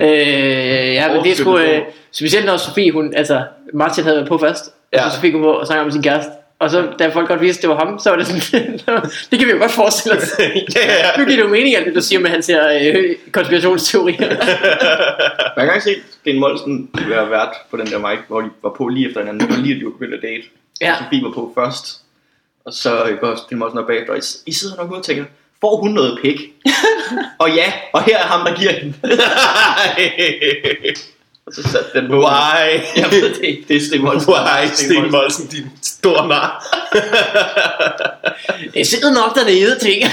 A: Øh, ja, men det er sgu...
D: Overflyttet
A: Øh, specielt når Sofie, hun... Altså, Martin havde været på først. Ja.
B: Ja.
A: Og så Sofie kom på og snakkede om sin kæreste. Og så, da folk godt vidste, det var ham, så var det sådan... det kan vi jo godt forestille os.
B: Ja, ja, ja.
A: Nu giver det jo mening, alt det du siger med hans her øh, konspirationsteorier.
D: Man kan ikke se Sten Molsen være vært på den der mic, hvor de var på lige efter hinanden. Det var lige, at de var begyndt at date.
A: Ja.
D: Og Sofie var på først. Og så øh, går Sten Molsen op bagefter, og I, I sidder nok ude og tænker, får hun noget pik? og ja, og her er ham, der giver hende. Og så satte den på.
B: Why?
D: Jeg ved det ikke. Det er Sten Molsen.
B: Why, Sten Molsen, din store nar?
A: Det sidder nok dernede, ting.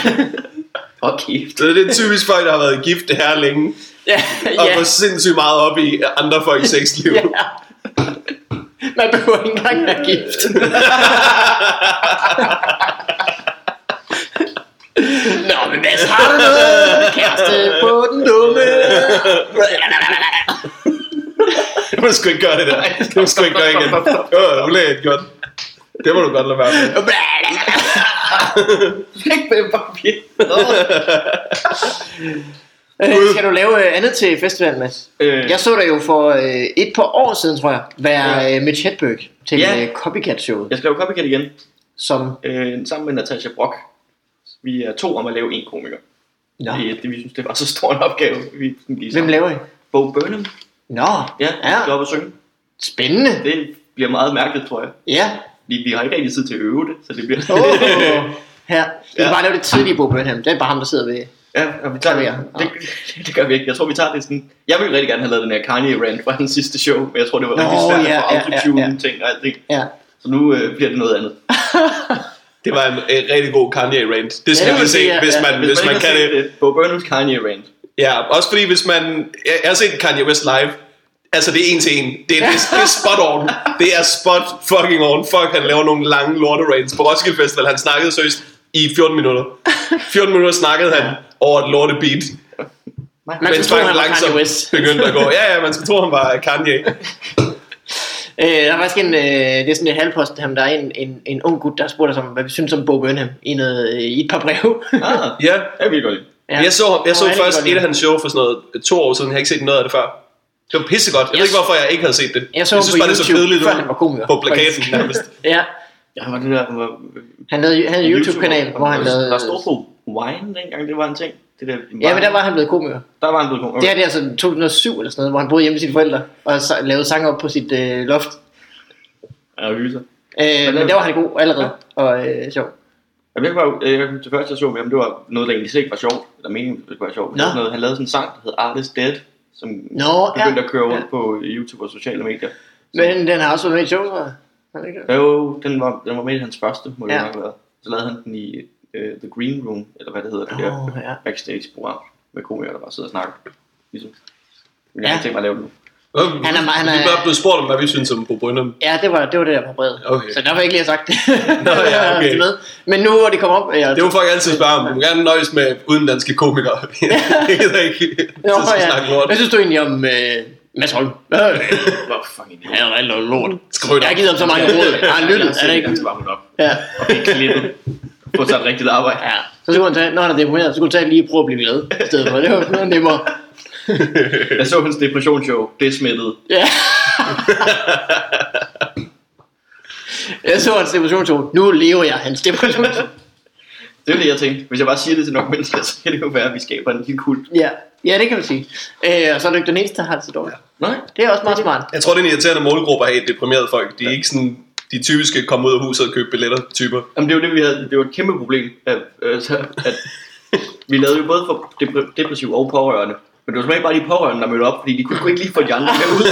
D: Hold kæft.
B: Så det er typisk folk, der har været gift det her længe,
A: ja,
B: og
A: ja,
B: går sindssygt meget op i andre folks sexliv.
A: ja. Man behøver ikke engang være gift. Nå, men hvad så har du noget? Kæreste på den dumme.
B: Det må du sgu ikke gøre det der. Det må du sgu ikke gøre igen. Det var ulækkert gjort. Det må du godt lade være med.
D: Pik med papir.
A: Øh, Skal du lave øh, andet til festivalen, Mads?
D: Øh,
A: Jeg så dig jo for øh, et par år siden, tror jeg, være
D: Ja.
A: øh, Mitch Hedberg til
D: Ja.
A: øh, Copycat-showet,
D: jeg skal lave copycat igen.
A: som...
D: øh, sammen med Natasha Brock. Vi er to om at lave en komiker.
A: Nå.
D: Ja. Det, det, vi synes, det var så stor en opgave. Vi sådan
A: Hvem
D: lige sammen.
A: laver I?
D: Bo Burnham.
A: Nå,
D: Ja,
A: Ja.
D: ja. skal op og synge.
A: spændende.
D: Det bliver meget mærkeligt, tror jeg.
A: Ja.
D: Vi, vi har ikke rigtig tid til at øve det, så det bliver...
A: Oh. Her. Vi kan
D: Ja.
A: bare lave det tidlige Bo Burnham. Det er bare ham, der sidder ved.
D: ja, og vi tager
A: Ja.
D: det, det, det, gør vi ikke. Jeg tror, vi tager det sådan... Jeg ville rigtig gerne have lavet den her kanye rant fra hans sidste show, men jeg tror, det var
A: Nå,
D: rigtig svært
A: ja,
D: at få
A: ja,
D: autotune
A: ja, ja.
D: ting og alt det.
A: Ja.
D: Så nu øh, bliver det noget andet.
B: Det var en, en rigtig god Kanye rant. Det
A: Ja, det
B: skal ja, man
A: vil
B: se,
A: sige, ja,
B: hvis
A: ja.
B: man, hvis man
D: ikke har
B: kan
D: set
B: det.
D: Bo Burnhams Kanye rant.
B: Ja, også fordi hvis man... Jeg, jeg har set Kanye West live. Altså, det er en til en. Det er, det, er- det er spot on. Det er spot fucking on. Fuck, han laver nogle lange lorte rants på Roskilde Festival. Han snakkede seriøst i 14 minutter. 14 minutter snakkede han over et lorte beat.
A: Man
B: Men
A: skulle tro,
B: folk
A: han var
B: langsomt
A: Kanye West.
B: begyndte at gå. Ja, ja, man skulle tro, han var Kanye.
A: Øh, der er faktisk en, øh, det er sådan et halvpost, ham, der er en, en, en ung gut, der spurgte os om, hvad vi synes om Bo Burnham i, noget, øh, i et par brev.
D: Ah,
B: Ja,
D: jeg vil godt lide.
A: ja.
B: Jeg så, jeg så
A: Nå, ja, det
B: først
A: kan
B: et
A: godt
B: af hans show for sådan noget øh, to år siden. Jeg har ikke set noget af det før. Det var pissegodt. Jeg
A: Jeg
B: ved ikke,
A: så-
B: hvorfor jeg ikke havde set det.
A: Jeg så ham
B: synes
A: på
B: bare, det er så
A: YouTube,
B: kedeligt
A: før
B: ud
A: han var komiker,
B: på plakaten
A: faktisk.
B: nærmest.
A: Ja.
D: Ja, var det der, han var,
A: Han havde, han havde en YouTube-kanal,
D: YouTuber.
A: hvor han lavede...
D: Der stod på Wine dengang, det var en ting. Det der,
A: Ja, men der var han blevet komiker.
D: der var en blevet okay.
A: Det her det er altså 2007 eller sådan noget, hvor han boede hjemme med sine forældre og sa- lavede sange op på sit øh, loft.
D: Jeg hyser.
A: Øh, men der var han god allerede, og øh, sjov.
D: Jeg ved bare, jeg, det første jeg så med ham, det var noget, der egentlig slet ikke var sjovt. Eller meningen, det skulle være sjovt. Men
A: Nå.
D: det var Noget, han lavede sådan en sang, der hed Artist Dead, som
A: Nå, ja.
D: begyndte at køre rundt
A: Ja.
D: på øh, YouTube og sociale medier.
A: Men den har også været med i et show, tror jeg. Har den ikke det?
D: Ja, Jo, den var, den var med i hans første, må det
A: Ja.
D: nok have været. Så lavede han den i øh, The Green Room, eller hvad det hedder, det
A: Åh,
D: der
A: ja.
D: backstage-program med komikere, der bare sidder og snakker. Ligesom. Men jeg
A: Ja.
D: har ikke tænkt mig at lave det nu.
B: Han
A: er- han er-
B: Vi er bare blevet spurgt om, hvad vi synes om Bo Burnham.
A: Ja, det var det, var det der på brevet.
B: Okay.
A: Så der var jeg ikke lige have sagt det.
B: Nå, ja, okay.
A: Det er med. Men nu hvor det kommer op, jeg,
B: Det må folk altid spørge om. Du må gerne nøjes med udenlandske komikere. jeg gider ikke.
A: Nå,
B: Så skal
A: ja.
B: snakke lort.
A: Hvad synes du egentlig om øh, Mads Holm. Øh,
D: Hvor fucking idiot.
A: Han er rigtig noget lort.
B: Skrøt
A: Jeg har givet ham så mange råd. Har han lyttet? Er det ikke?
D: Han skal bare rydde op
A: Ja.
D: og blive klippet. Få sig et rigtigt arbejde.
A: ja. Så skulle han tage, når han er deprimeret, så skulle han tage lige og prøve at blive glad i stedet for. Det var noget nemmere.
D: Jeg så hans depressionsshow. Det er smittet.
A: Ja. Jeg så hans depressionszone. Nu lever jeg hans depressionszone.
D: Det er det, jeg tænkte. Hvis jeg bare siger det til nogle mennesker, så kan det jo være, at vi skaber en lille kult.
A: Ja. ja, det kan man sige. Øh, og så er du ikke den eneste, der har det så dårligt.
D: Nej.
A: Det er også meget smart.
B: Jeg tror, det er en irriterende målgruppe at have deprimerede folk. De er ikke sådan de typiske komme ud af huset og købe billetter typer.
D: Jamen, det er jo det, vi havde. Det var et kæmpe problem. At, øh, så, at vi lavede jo både for depre- depressive og pårørende. Men det var simpelthen ikke bare de pårørende, der mødte op, fordi de kunne sgu ikke lige få de andre med ud.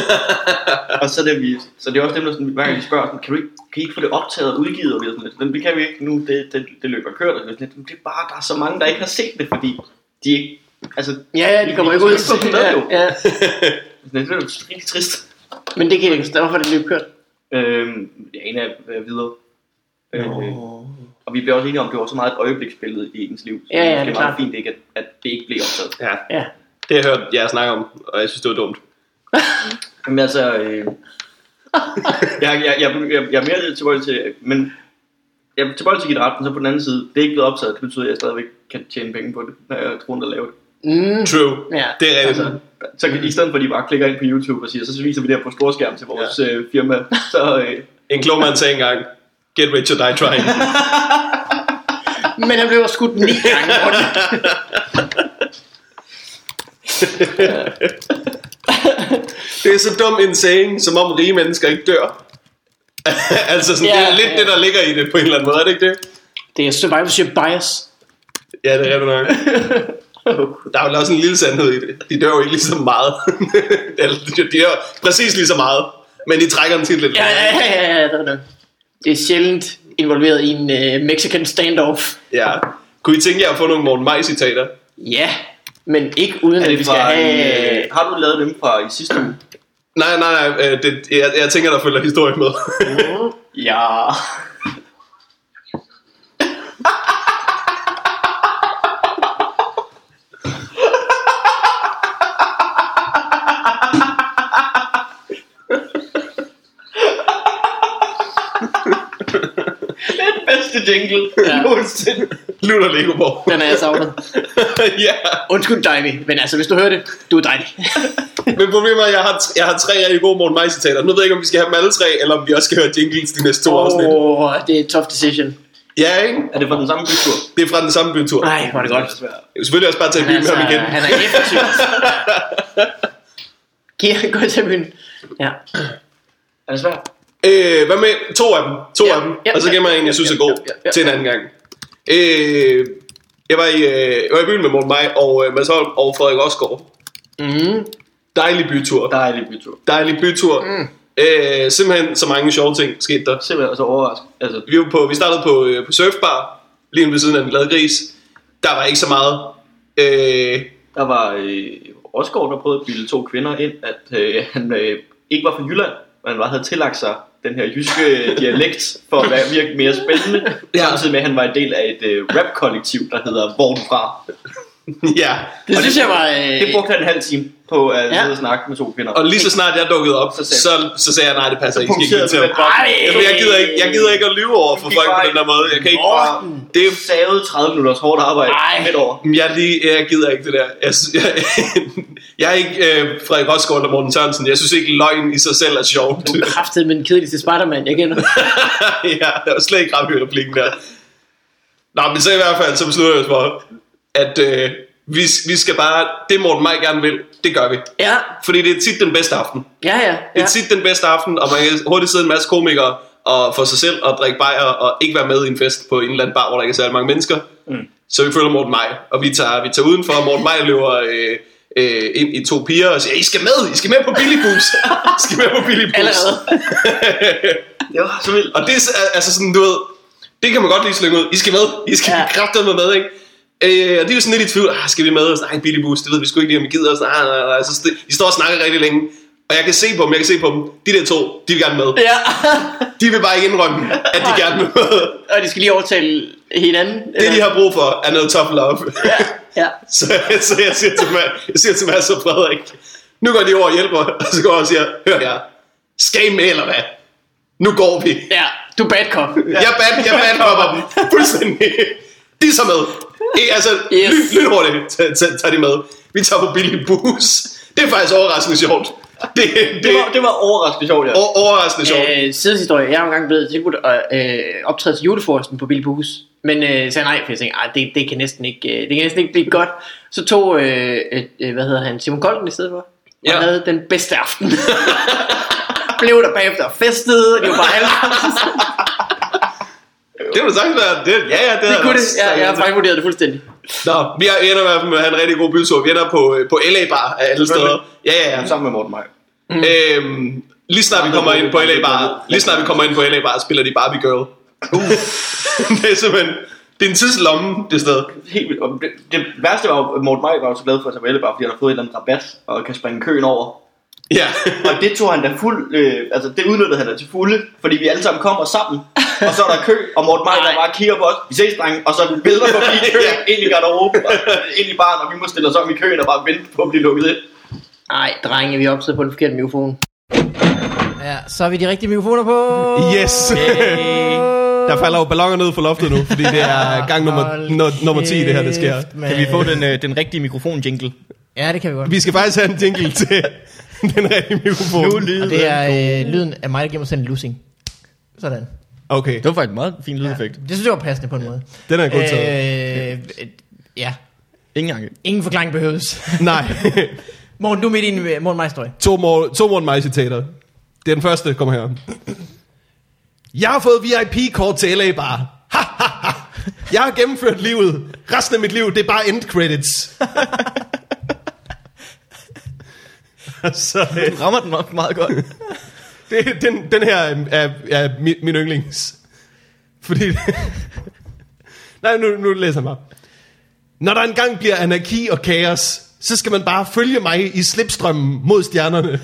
D: og så, det, vi, så det er også dem, der sådan, hver gang de spørger, sådan, kan, du ikke, kan I ikke få det optaget og udgivet? Og vi er sådan, lidt, "Jamen, det kan vi ikke nu, det, det, det løber kørt. Og vi er sådan, lidt, "Men det er bare, der er så mange, der ikke har set det, fordi de ikke... Altså,
A: Ja, ja, de kommer ikke ud.
D: Så er de med, jo.
A: Ja, ja.
D: det er jo rigtig trist.
A: Men det kan jeg ikke forstå, hvorfor det løb kørt.
D: Øhm, ja, en af øh, videre. Øh, og vi blev også enige om, at det var så meget et øjebliksbillede i ens liv. Så
A: Ja, ja, det er
D: det er meget
A: klart.
D: fint, ikke, at, at det ikke blev optaget.
B: Ja.
A: Ja.
B: Det har jeg hørt jer snakke om, og jeg synes, det var dumt.
D: Men altså, øh, jeg, jeg, jeg, jeg, jeg er mere tilbøjelig til, men jeg er tilbøjelig til at give det ret, men så på den anden side, det er ikke blevet optaget, det betyder, at jeg stadigvæk kan tjene penge på det, når jeg tror, at lave det.
A: Mm.
B: True.
A: Ja.
B: Det er rigtigt.
D: Altså, så kan, i stedet for, at de bare klikker ind på YouTube og siger, så viser vi det her på storskærm til vores ja. øh, firma, så øh,
B: En klog mand sagde engang, get rich or die trying.
A: Men han blev også skudt ni gange rundt.
B: det er så dum en saying, som om rige mennesker ikke dør. altså sådan, det
A: Ja,
B: er lidt
A: ja.
B: det, der ligger i det på en eller anden måde, er det ikke det?
A: Det er survivorship bias.
B: Ja, det er rigtigt nok. Der er jo også en lille sandhed i det. De dør jo ikke lige så meget. Eller, de dør præcis lige så meget. Men de trækker den tit lidt.
A: Ja, ja, ja, ja, ja, det er det. Det er sjældent involveret i en øh, Mexican standoff.
B: ja. Kunne I tænke jer at få nogle Morten Maj citater?
A: Ja, men ikke uden
D: er
A: at
D: det
A: vi skal
D: fra,
A: have...
D: i, øh, har du lavet dem fra i sidste uge?
B: Nej, nej, nej. øh, Det, jeg, jeg tænker, der følger historien med.
A: Mm,
D: Ja. Den bedste jingle
A: Ja.
D: ja. nogensinde.
B: Lutter Legoborg.
A: Den er jeg savnet.
B: ja.
A: Undskyld dig, men altså, hvis du hører det, du er dejlig.
B: Men problemet er, at jeg har, jeg har tre rigtig gode Morten Maj citater. Nu ved jeg ikke, om vi skal have dem alle tre, eller om vi også skal høre jingles de næste to oh. afsnit.
A: Åh, oh, det er en tough decision.
B: Ja, ikke?
D: Er det fra den samme bytur?
B: Det er fra den samme bytur.
A: Nej, hvor er det godt.
B: Jeg vil selvfølgelig også bare tage i byen med
A: Altså,
B: ham igen.
A: han er effektiv. Giv han godt til byen. Ja.
D: Er det svært?
B: Øh, hvad med to af dem? To
A: Ja,
B: af dem.
A: ja,
B: og så
A: ja,
B: gemmer jeg en, jeg synes er god
A: ja, ja.
B: til en anden gang. Øh, jeg, var i, øh, jeg var i byen med Morten Maj og øh, Mads Holm og Frederik Osgaard.
A: Mm.
B: Dejlig bytur.
D: Dejlig bytur.
B: Dejlig bytur. Mm. Øh, simpelthen så mange sjove ting skete der.
D: Simpelthen så overrasket. Altså,
B: Vi, var på, vi startede på, øh, på surfbar, lige inde ved siden af den glade gris. Der var ikke så meget. Øh,
D: Der var øh, Rosgaard, der prøvede at bilde to kvinder ind, at øh, han øh, ikke var fra Jylland, men han bare havde tillagt sig den her jyske øh, dialekt for at være virke mere spændende,
B: Ja.
D: ja. samtidig med, at han var en del af et øh, rap-kollektiv, der hedder Hvor er du fra?
B: ja.
A: Det
D: Og
A: synes
D: det-
A: jeg var... Øh,
D: Det brugte han en halv time på at
A: Ja.
D: sidde og snakke med to kvinder.
B: Og lige så snart jeg dukkede op, så,
D: Så
B: så,
D: sagde-
B: så sagde jeg, nej, det passer ikke. I skal
D: punkterede
B: ikke til ham.
D: den bare.
A: Ej!
B: Jamen, jeg, gider ikke, jeg gider ikke at lyve over for
D: Du gik
B: folk på
D: bare
B: den der måde. Jeg kan ikke bare...
D: Morten!
B: Det er
D: Det savede 30 minutters hårdt arbejde
A: Ej.
D: midt over.
B: Jamen, Jeg, er lige, jeg gider ikke det der. Jeg, sy- jeg, jeg er ikke øh, Frederik Rosgaard eller Morten Sørensen. Jeg synes ikke, løgn i sig selv er sjovt.
A: Du er kraftet med den kedeligste Spider-Man, jeg kender.
B: ja, der var slet ikke ramt i replikken der. Nå, men så i hvert fald, så beslutter jeg os for, at øh, vi, vi skal bare... Det Morten mig gerne vil, det gør vi.
A: Ja,
B: Fordi det er tit den bedste aften.
A: ja, ja.
B: Det
A: ja.
B: er tit den bedste aften, og man kan hurtigt sidde en masse komikere og for sig selv og drikke bajer og ikke være med i en fest på en eller anden bar, hvor der ikke er særlig mange mennesker. Mm. Så vi følger Morten Maj, og vi tager, vi tager udenfor, og Morten Maj løber øh, øh, ind i to piger og siger, I skal med, I skal med på Billybus. I skal med på Billybus.
A: Allerede.
D: Det var så vildt.
B: og det er så- altså sådan, du ved, det kan man godt lige slynge ud. I skal med, I skal
A: Ja.
B: ja. kraftedeme med, ikke? Øh, og de er jo sådan lidt i tvivl, ah, skal vi med? Og sådan, nej, Billy Boost, det ved vi sgu ikke lige, om vi gider. Og sådan, "Ah, nej, nej, nej. Så st- de står og snakker rigtig længe. Og jeg kan se på dem, jeg kan se på dem. De der to, de vil gerne med.
A: Ja.
B: De vil bare ikke indrømme, at de gerne vil med.
A: Og de skal lige overtale hinanden.
B: Det,
A: eller?
B: de har brug for, er noget tough love.
A: Ja.
B: så, så jeg siger til, Ma- jeg siger til Mads og Frederik, Nu går de over og hjælper, og så går han og siger, hør her, skal I med eller hvad? Nu går vi.
C: Ja, du er bad cop.
B: Jeg bad, jeg bad hopper dem. Fuldstændig. De er så med. E, altså, yes.
C: Yes.
B: lyn, lynhurtigt tager tag, tag de med. Vi tager på billig bus. Det er faktisk overraskende sjovt. Det, det,
E: Det var, det var overraskende sjovt, ja.
B: over, overraskende sjovt.
C: Øh, sideshistorie. Jeg er engang blevet tilbudt at øh, optræde til juleforsten på Billy Hus. Men øh, sagde nej, for jeg tænkte, "Ej, det, det, kan næsten ikke, øh, det kan næsten ikke blive godt. Så tog, øh, et, øh, hvad hedder han, Simon Golden i stedet for. Og
B: Ja.
C: ja. havde den bedste aften. Blev der bagefter og festede, og det var bare halvfems.
B: Det vil sagtens være. Det, ja, ja, det,
C: Det
B: er
C: kunne det.
B: også-
C: Jeg, jeg har fejlvurderet det fuldstændig.
B: Nå, vi er- ender i hvert fald med at have en rigtig god bytur. Vi ender på, øh, på LA Bar af alle steder. Ja, ja,
A: Mm.
B: ja.
E: Sammen med Morten Maj.
B: Øhm, lige snart vi kommer ind på LA Bar, lige snart vi kommer ind på LA Bar, spiller de Barbie Girl. Uh. det er simpelthen, det er en tidslomme, det sted.
E: Helt vildt. Og det, det værste var, jo, at Morten Maj var jo så glad for at tage på bare fordi han har fået en eller anden rabat og kan springe køen over.
B: Ja.
E: Og det tog han da fuld, øh, altså det udnyttede han da til fulde, fordi vi alle sammen kommer sammen, og så er der kø, og Morten Maj der
C: Nej.
E: bare kigger på os, vi ses drenge, og så vælter forbi køen ind i garderoben, og ind i baren, og vi må stille os om i køen og bare vente på at blive lukket ind.
C: Nej, drenge, vi opsætter på den forkerte mikrofon.
A: Ja, så har vi de rigtige mikrofoner på.
B: Yes. Der falder jo ballonger ned fra loftet nu, fordi det er gang nummer,
A: Ah, Hold
B: no, nummer 10, det her, det sker.
A: kæft, mand.
F: Kan vi få den, øh, den rigtige mikrofon-jingle?
A: Ja, det kan vi godt.
B: Vi skal faktisk have en jingle til den rigtige mikrofon. Ah,
F: Nu lyder
A: Og det er øh, lyden af mig, der giver mig sådan en lussing. Sådan.
B: Okay,
F: Det var faktisk en meget fin lydeffekt.
A: Det synes jeg var passende på en måde.
B: den er god taget.
A: Øh, øh, ja,
F: Ingen gang.
A: ingen forklaring behøves.
B: Nej,
A: Morgen, du er midt i en øh, Morten Majstøj.
B: to, mor- to morgen mig citater. Det er den første, kommer her. Jeg har fået VIP-kort til LA Bar. Ha, ha, ha. Jeg har gennemført livet. Resten af mit liv, det er bare end credits. Så, øh,
F: Du rammer den op meget godt.
B: Det, den, den her er, er, er min, min yndlings. Fordi... Nej, nu, nu læser jeg mig. Når der engang bliver anarki og kaos, så skal man bare følge mig i slipstrømmen mod stjernerne.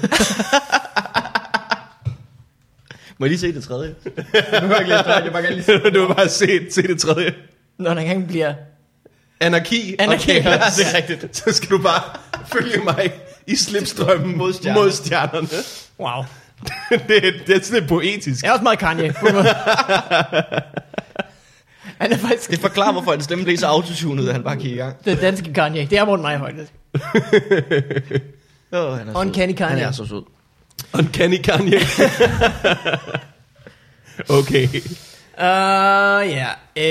F: Må jeg lige se det tredje?
B: du har bare se, se det tredje.
A: Når der engang bliver...
B: Anarki,
A: Anarki,
B: og
A: ja,
B: kaos.
A: det er
B: rigtigt. Så skal du bare følge mig i slipstrømmen mod stjernerne. Mod stjernerne.
A: Wow.
B: det, er- det er sådan lidt poetisk.
A: Jeg er også meget Kanye. på en måde. Han er faktisk
F: Det forklarer, hvorfor hans stemme blev så autotunet, at han bare gik i gang.
A: den danske Kanye. Det er Morten Majhøj.
F: Oh, han er sød.
A: Uncanny
F: Altså, Han
A: Kanye.
F: er så sød.
B: Uncanny Kanye. okay.
A: Uh, ja. Øh,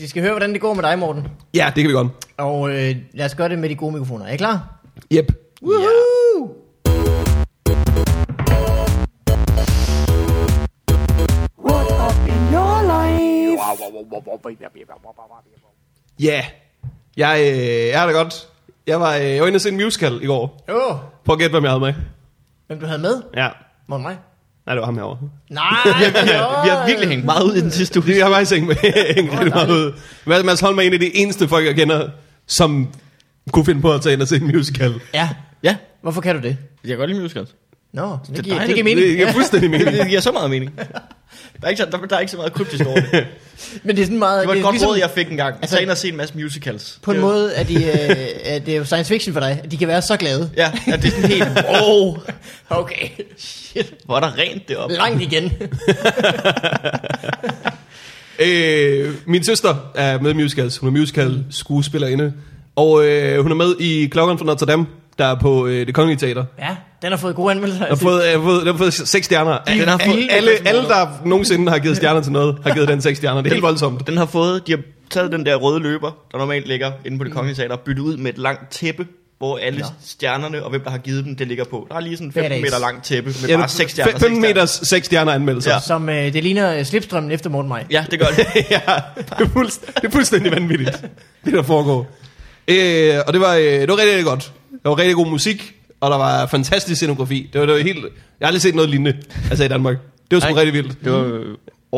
A: vi skal høre, hvordan det går med dig, Morten.
B: Ja, det kan vi godt.
A: Og øh, lad os gøre det med de gode mikrofoner. Er I klar?
B: Yep.
A: Woohoo!
B: Ja, yeah. jeg, øh, jeg har det godt. Jeg var, øh, jeg var inde og se en musical i går.
A: Åh, yeah. oh,
B: Prøv at gætte, hvem jeg havde med.
A: hvem du havde med?
B: Ja.
A: Morten Maj?
B: Nej, det var ham herovre.
A: Nej,
F: Vi har virkelig hængt meget ud i den sidste uge.
B: Det har faktisk ikke med hængt rigtig meget ud. Mads- Mads Holm er en af de eneste folk, jeg kender, som kunne finde på at tage ind og se en musical.
A: Ja,
F: Ja,
A: hvorfor kan du det?
F: jeg kan godt lide musicals.
A: Nå, det, det, giver,
F: dejligt.
A: det giver mening.
B: Det giver fuldstændig mening.
F: Det giver så meget mening. Der er ikke så, der, der er ikke så meget kryptisk over det.
A: Men det er sådan meget...
F: Det var et
A: er
F: godt
A: ligesom,
F: råd, jeg fik engang. Altså,
A: Altså-
F: Tag ind og se en masse musicals.
A: På en måde er de, øh, at det er jo science fiction for dig, at de kan være så glade.
F: Ja, ja det er sådan helt, wow,
A: Okay,
F: hvor er der rent deroppe.
A: langt igen.
B: Øh, min søster er med i musicals. Hun er musical skuespillerinde. Og øh, hun er med i Klokken fra Notre Dame, der er på øh, det kongelige teater.
A: Ja, den har fået gode anmeldelser.
B: Den har fået, øh, fået, den har fået seks stjerner.
F: Den har fået-
B: alle, alle, der nogensinde har givet stjerner til noget, har givet den seks stjerner. Det er helt voldsomt.
F: Den har fået, de har taget den der røde løber, der normalt ligger inde på det kongelige teater, og byttet ud med et langt tæppe, hvor alle
A: Nå.
F: stjernerne og hvem der har givet dem, det ligger på. Der er lige sådan en 15
A: Badass.
F: meter langt tæppe med bare 6 stjerner.
B: fem-
F: seks
B: fem
F: stjerner.
B: meters seks stjerner anmeldelser.
F: Ja.
A: Som øh, det ligner øh, slipstrømmen efter Morten Maj.
F: Ja, det gør det.
B: ja, det er, fuldst, det er fuldstændig vanvittigt, det der foregår. Øh, og det var, øh, det var rigtig, rigtig godt. Der var rigtig god musik, og der var fantastisk scenografi. Det var, det var helt, jeg har aldrig set noget lignende, altså i Danmark. Det var sgu
F: Nej.
B: rigtig vildt.
F: det var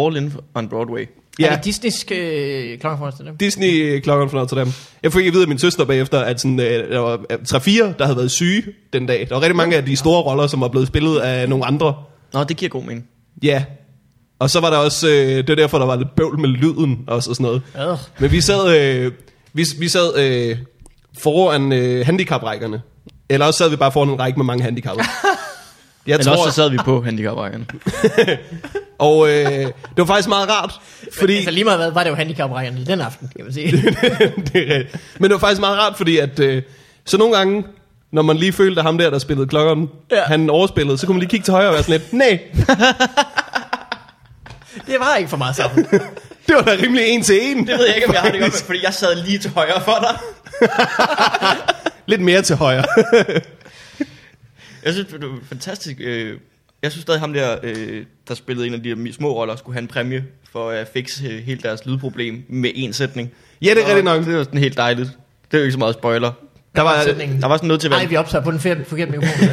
F: øh, All In on Broadway.
A: Ja. Er
B: Ja,
A: det Disney's øh, klokken
B: Disney-klokken fra Notre Dame. Jeg fik at vide af min søster bagefter, at sådan, øh, der var 3-4, der havde været syge den dag. Der var rigtig mange af de store roller, som var blevet spillet af nogle andre.
F: Nå, det giver god mening.
B: Ja. Og så var der også, øh, det var derfor, der var lidt bøvl med lyden også og sådan noget.
A: Ugh.
B: Men vi sad, øh, vi, vi sad øh, foran øh, handicaprækkerne. Eller også sad vi bare foran en række med mange handicappede. Jeg
D: Eller
B: tror,
D: også så sad vi på handicaprækkerne.
B: og øh, det var faktisk meget rart, fordi...
A: Altså lige meget hvad, var det jo handicaprækkerne den aften, kan man sige.
B: det er rigtigt. Men det var faktisk meget rart, fordi at, øh, så nogle gange, når man lige følte, at ham der, der spillede klokken, ja. han overspillede, så kunne man lige kigge til højre og være sådan lidt, nej,
A: Det var ikke for meget sammen.
B: det var da rimelig en til en.
D: Det ved jeg ikke, om jeg har det godt med, fordi jeg sad lige til højre for dig.
B: Lidt mere til højre.
D: Jeg synes, det var fantastisk. øh, Jeg synes stadig, ham der, øh, der spillede en af de der små roller, skulle have en præmie for at fikse øh, hele deres lydproblem med én sætning.
B: Ja, det er rigtigt nok.
D: Det var sådan helt dejligt. Det er jo ikke så meget spoiler.
B: Der var,
A: Sætningen.
D: Der var sådan noget til
A: Nej,
D: vand.
A: vi optager på den fer- forkerte mikrofon.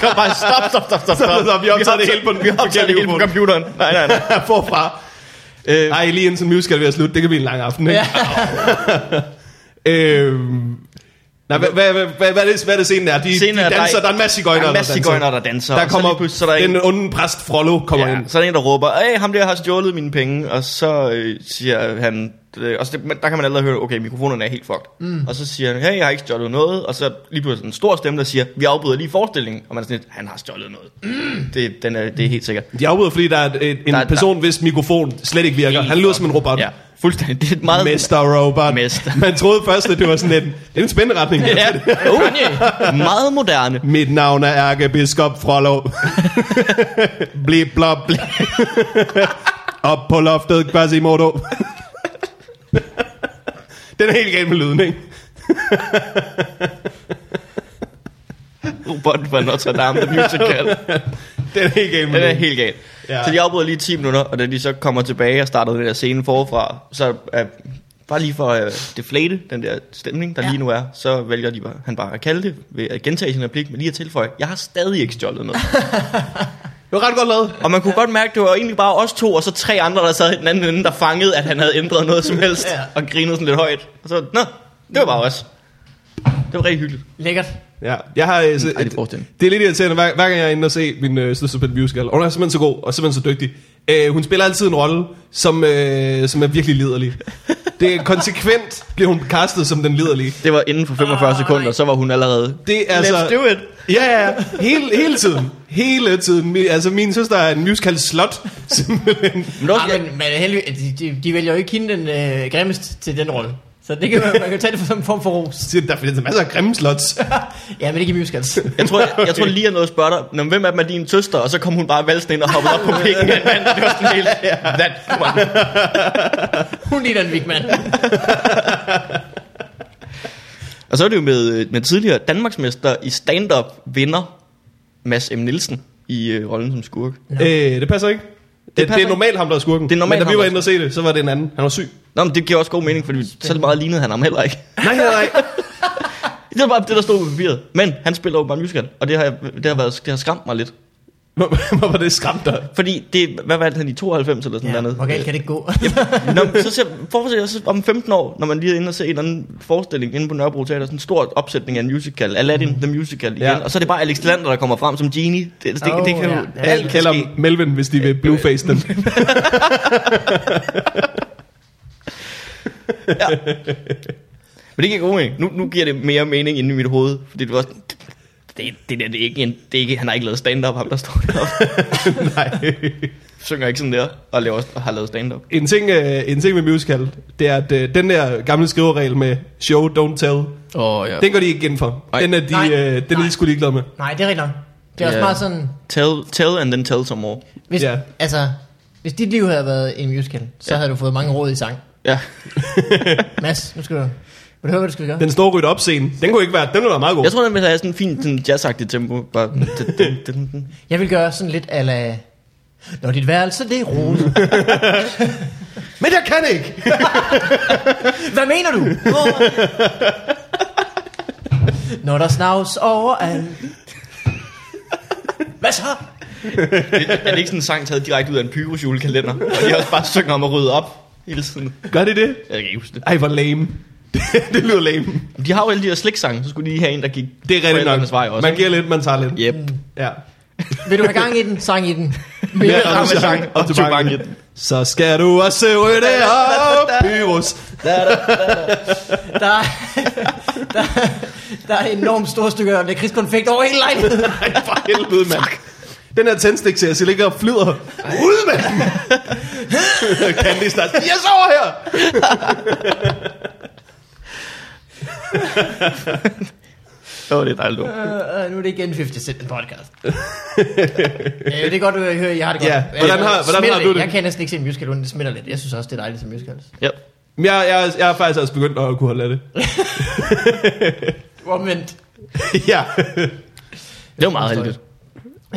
D: Kom bare, stop, stop, stop, stop, stop.
B: så vi optager det hele på den
D: Vi optager det hele på computeren. Nej, nej, nej.
B: forfra.
D: Øh,
B: Nej, lige indtil musical er ved at slutte. Det kan blive en lang aften, ikke? Ja. øhm, nej, hvad, hvad, hvad, hvad, hvad, er det, hvad er det scenen er? De,
D: Scenen
B: de
D: er, der
B: danser,
D: er-
B: der er en masse
D: der
B: gøjner,
D: er en masse cigøjner, der danser.
B: Der
D: og så lige
B: kommer
D: pludselig, så er der en-
B: den onde præst Frollo kommer ja.
D: Ja,
B: ind.
D: så er der en, der råber, hey, ham der har stjålet mine penge, og så øh, siger han, øh, og så det, men der kan man allerede høre, okay, mikrofonerne er helt fucked. Mm. Og så siger han, hey, jeg har ikke stjålet noget, og så lige pludselig en stor stemme, der siger, vi afbryder lige forestillingen, og man er sådan lidt, han har stjålet noget. Mm. Det, den er, det er helt sikkert.
B: De afbryder, fordi der er et, en
D: Der er-
B: der, person, hvis mikrofon slet ikke virker. Han lyder som en robot.
D: Ja, fuldstændig. Det er et meget...
B: Mester Robot.
D: Mester.
B: Man troede først, at det var sådan en, det er en spændende retning.
D: Ja, uh, meget moderne.
B: Mit navn er ærkebiskop Frollo. Blip blop. blip. Op på loftet, Quasimodo. Den er helt galt med lyden, ikke?
D: Robot fra Notre Dame, The Musical.
B: Den er helt galt med
D: Den er
B: lyden.
D: helt galt.
B: Mm. Ja.
D: Ja. Så de afbryder lige 10 minutter, og da de så kommer tilbage og starter den der scene forfra, så er, bare lige for at deflate den der stemning, der ja. lige nu er, så vælger de bare, han bare at kalde det ved at gentage sin replik, men lige at tilføje, jeg har stadig ikke stjålet noget.
B: Det var ret godt lavet.
D: og man kunne godt mærke, det var egentlig bare os to, og så tre andre, der sad i den anden ende, der fangede, at han havde ændret noget som helst,
A: Ja.
D: ja. og grinede sådan lidt højt. Og så, nå, det var bare os. Det var rigtig hyggeligt.
A: Lækkert.
B: Ja, jeg har, øh, så,
D: Mm, Ej, det brugte den.
B: det er lidt irriterende, hver, hver gang jeg er inde og se min øh, søster spille musical. Og hun er simpelthen så god, og simpelthen så dygtig. Øh, hun spiller altid en rolle, som, øh, som er virkelig liderlig. Det er konsekvent, bliver hun castet som den liderlige.
D: Det var inden for 45 sekunder, så var hun allerede...
B: Det er altså...
D: Let's do it!
B: Ja, ja, ja. Hele, hele tiden. Hele tiden. Mi- Altså, min søster er en musical slot, simpelthen.
D: Men også,
A: Ah, men, men heldigvis, de, de, de vælger jo ikke hende den øh, grimmeste til den rolle. Så det kan man, man kan jo tage det for en form for ros.
B: Så Der findes masser af grimme slots.
A: ja, men ikke i musicals.
D: Jeg tror, jeg, jeg tror lige, jeg nåede at spørge dig, Nå, men hvem af dem er din søster? Og så kom hun bare valsen ind og hoppede op på pikken af en mand. Det var sådan helt, that one.
A: Hun ligner en vigmand.
D: Og så er det jo med, øh, med tidligere Danmarksmester i stand-up vinder Mads M. Nielsen i øh, rollen som skurk.
B: øh, det passer ikke. Det, det,
D: passer
B: det er
D: ikke.
B: normalt ham, der er skurken.
D: Det er normalt
B: Men da vi
D: ham,
B: var
D: der er
B: inde og se det, så var det en anden. Han var syg.
D: Nå, men det giver også god mening, fordi så meget lignede han ham heller ikke.
B: Nej, nej, nej.
D: Det var bare det, der stod på papiret. Men han spiller åbenbart musical, og det har, jeg- det har, været, det har skræmt mig lidt.
B: Hvor- Hvor var det skræmt dig?
D: Fordi det, hvad vandt han i 92 eller sådan
A: Ja,
D: noget?
A: hvor galt kan det gå?
D: Nå, men så ser, forestil dig så om 15 år, når man lige er inde og ser en eller anden forestilling inde på Nørrebro Teater, sådan en stor opsætning af en musical, Aladdin mm. the Musical igen,
B: Ja.
D: ja. og så er det bare Alex Lander, der kommer frem som Genie. Det, det,
A: Oh,
D: det kan
A: ja.
D: jo
A: Ja,
D: alt kan
B: Eller
D: ske.
B: Melvin, hvis de vil blueface den.
D: Men det giver god mening. Nu, nu giver det mere mening inde i mit hoved, fordi det var sådan, det, det der, det er ikke en, det er ikke, han har ikke lavet stand-up, ham der står deroppe.
B: nej.
D: Synger ikke sådan der, og, laver, og har lavet stand-up.
B: En ting, øh, en ting med musical, det er, at øh, den der gamle skriveregel med show, don't tell,
D: Åh, ja.
B: den går de ikke ind for.
D: Nej.
B: Den er de,
A: Nej.
B: øh, den er
A: Nej.
B: de sgu ligeglade med.
A: Nej, det er rigtigt nok. Det er også
D: Ja.
A: meget sådan,
D: Tell, tell and then tell some more.
A: hvis,
B: Ja.
A: altså, hvis dit liv havde været en musical, så
D: Ja.
A: havde du fået mange råd i sang.
D: Ja.
A: Mads, nu skal du, vil du høre, hvad du skal gøre?
B: Den store rydde op scene, den kunne ikke være, den ville være meget god.
D: Jeg tror, den vil have sådan en fin sådan jazzagtig tempo. Bare, dun, dun, dun, dun.
A: Jeg vil gøre sådan lidt ala... Når dit værelse, det er rodet.
B: Men jeg kan ikke!
A: Hvad mener du? Når der snavs overalt. Hvad så?
D: Er det ikke sådan en sang taget direkte ud af en pyros julekalender? Og de også bare synger om at rydde op hele tiden.
B: Gør de det?
D: Jeg kan ikke huske det.
B: Ej, hvor lame. det lyder lame.
D: De har jo alle de der sliksange, så skulle de lige have en, der gik
B: Det er rigtigt nok.
D: forældrenes vej også.
B: man giver lidt, man tager lidt.
D: Yep.
B: Ja.
A: Vil du have gang i den? Sang i den.
B: Mere rammesang
D: og
B: og tobak.
D: tobak.
B: Så skal du også rydde op, Pyrus.
A: Der, er- der, der er enormt store stykker lakridskonfekt over hele lejligheden.
B: For helvede, mand. Den her tændstik ser jeg ligger og flyder. Ud med den! Candy snart. Yes, over her!
D: Åh, det er dejligt. ord.
A: Øh, øh, nu er det igen 50 Cent en podcast. øh, det er godt, at høre, I har det godt.
B: Ja, hvordan har- hvordan
A: Smitter
B: har du det?
A: Jeg kan næsten ikke se en musical, uden det smitter lidt. Jeg synes også, det er dejligt som musicals.
D: Ja.
B: Men Jeg, jeg, jeg er faktisk også begyndt at kunne holde af det.
A: Omvendt.
B: ja.
D: Det var meget heldigt.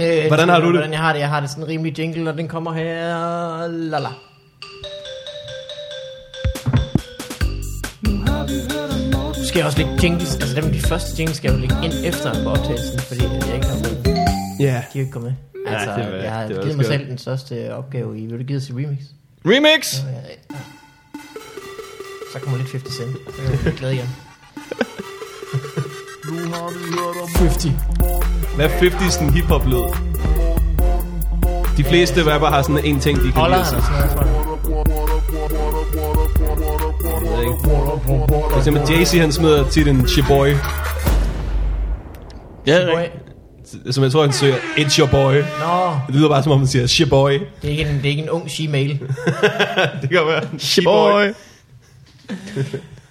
A: Øh,
B: Hvordan har du det?
A: Hvordan jeg har det? Jeg har det sådan en rimelig jingle, og den kommer her. La la. Nu skal jeg også lægge jingles. Altså dem, de første jingles skal jeg jo lægge ind efter på optagelsen, fordi jeg ikke har fået dem.
B: Ja.
A: De er jo ikke kommet med. Altså,
D: det var-
A: jeg har
D: det var
A: givet mig
D: skørt.
A: selv den største opgave i. Vil du give os et remix?
D: Remix!
A: Ja, ja. Så kommer lidt 50 Cent. Så er jeg jo glad igen. 50.
B: Hvad er 50'sen hiphop lød? De fleste rapper har sådan en ting, de kan
A: Holder
B: lide.
A: han
B: sig.
A: og sådan noget, tror jeg.
B: For eksempel Jay-Z, han smider tit en Sheboy,
D: Ja, det er
A: Boy.
D: rigtigt.
B: som jeg tror, han søger It's your boy.
A: Nå,
B: Det lyder bare, som om man siger Sheboy.
A: det er ikke en, det er ikke en ung she-mail.
B: Det kan være.
D: Sheboy.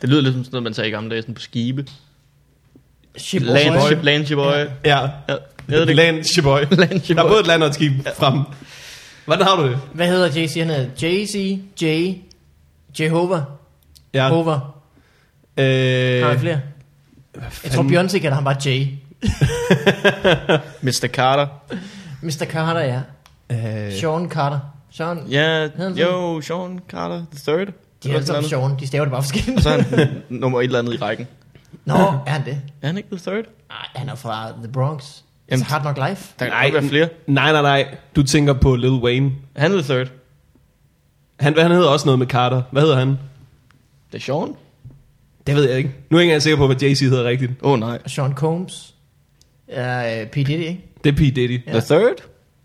D: Det lyder lidt som sådan noget, man sagde i gamle dage sådan på skibe. Land,
A: Boy.
D: ship, land, sheboy.
B: Ja.
D: Ja, jeg ved
B: Det
D: det
B: er
D: ikke.
B: land, Sheboy.
D: Land
B: Der er
D: Sheboy.
B: både et land og et skib frem. Hvordan har du det?
A: Hvad hedder Jay-Z? Han hedder Jay-Z, Jay, Jehovah,
B: Ja.
A: Hover. Har han
B: Øh,
A: flere? Jeg tror, Beyoncé kalder ham bare Jay.
D: Mr. Carter.
A: Mr. Carter, ja.
B: øh,
A: Sean Carter. Sean.
D: Ja,
A: han
D: jo, Sean Carter the third.
A: De er alle sammen Sean. De staver det bare forskelligt.
D: Så er han nummer et eller andet i rækken.
A: Nå, er han det?
D: Er han ikke the third?
A: Nej, han er fra The Bronx. Jamen.
D: Jamen.
A: Hard Knock Life.
D: Der kan
B: Nej.
D: godt være flere.
B: nej, nej, nej. Du tænker på Lil Wayne.
D: Han er the third.
B: Han, han hedder også noget med Carter. Hvad hedder han?
D: Det er Sean?
B: Det ved jeg ikke. Nu er jeg ikke engang sikker på, hvad Jay-Z hedder rigtigt.
D: Åh oh, nej.
A: Og Sean Combs. Ja, øh, P. Diddy, ikke?
B: Det er P. Diddy.
D: The third?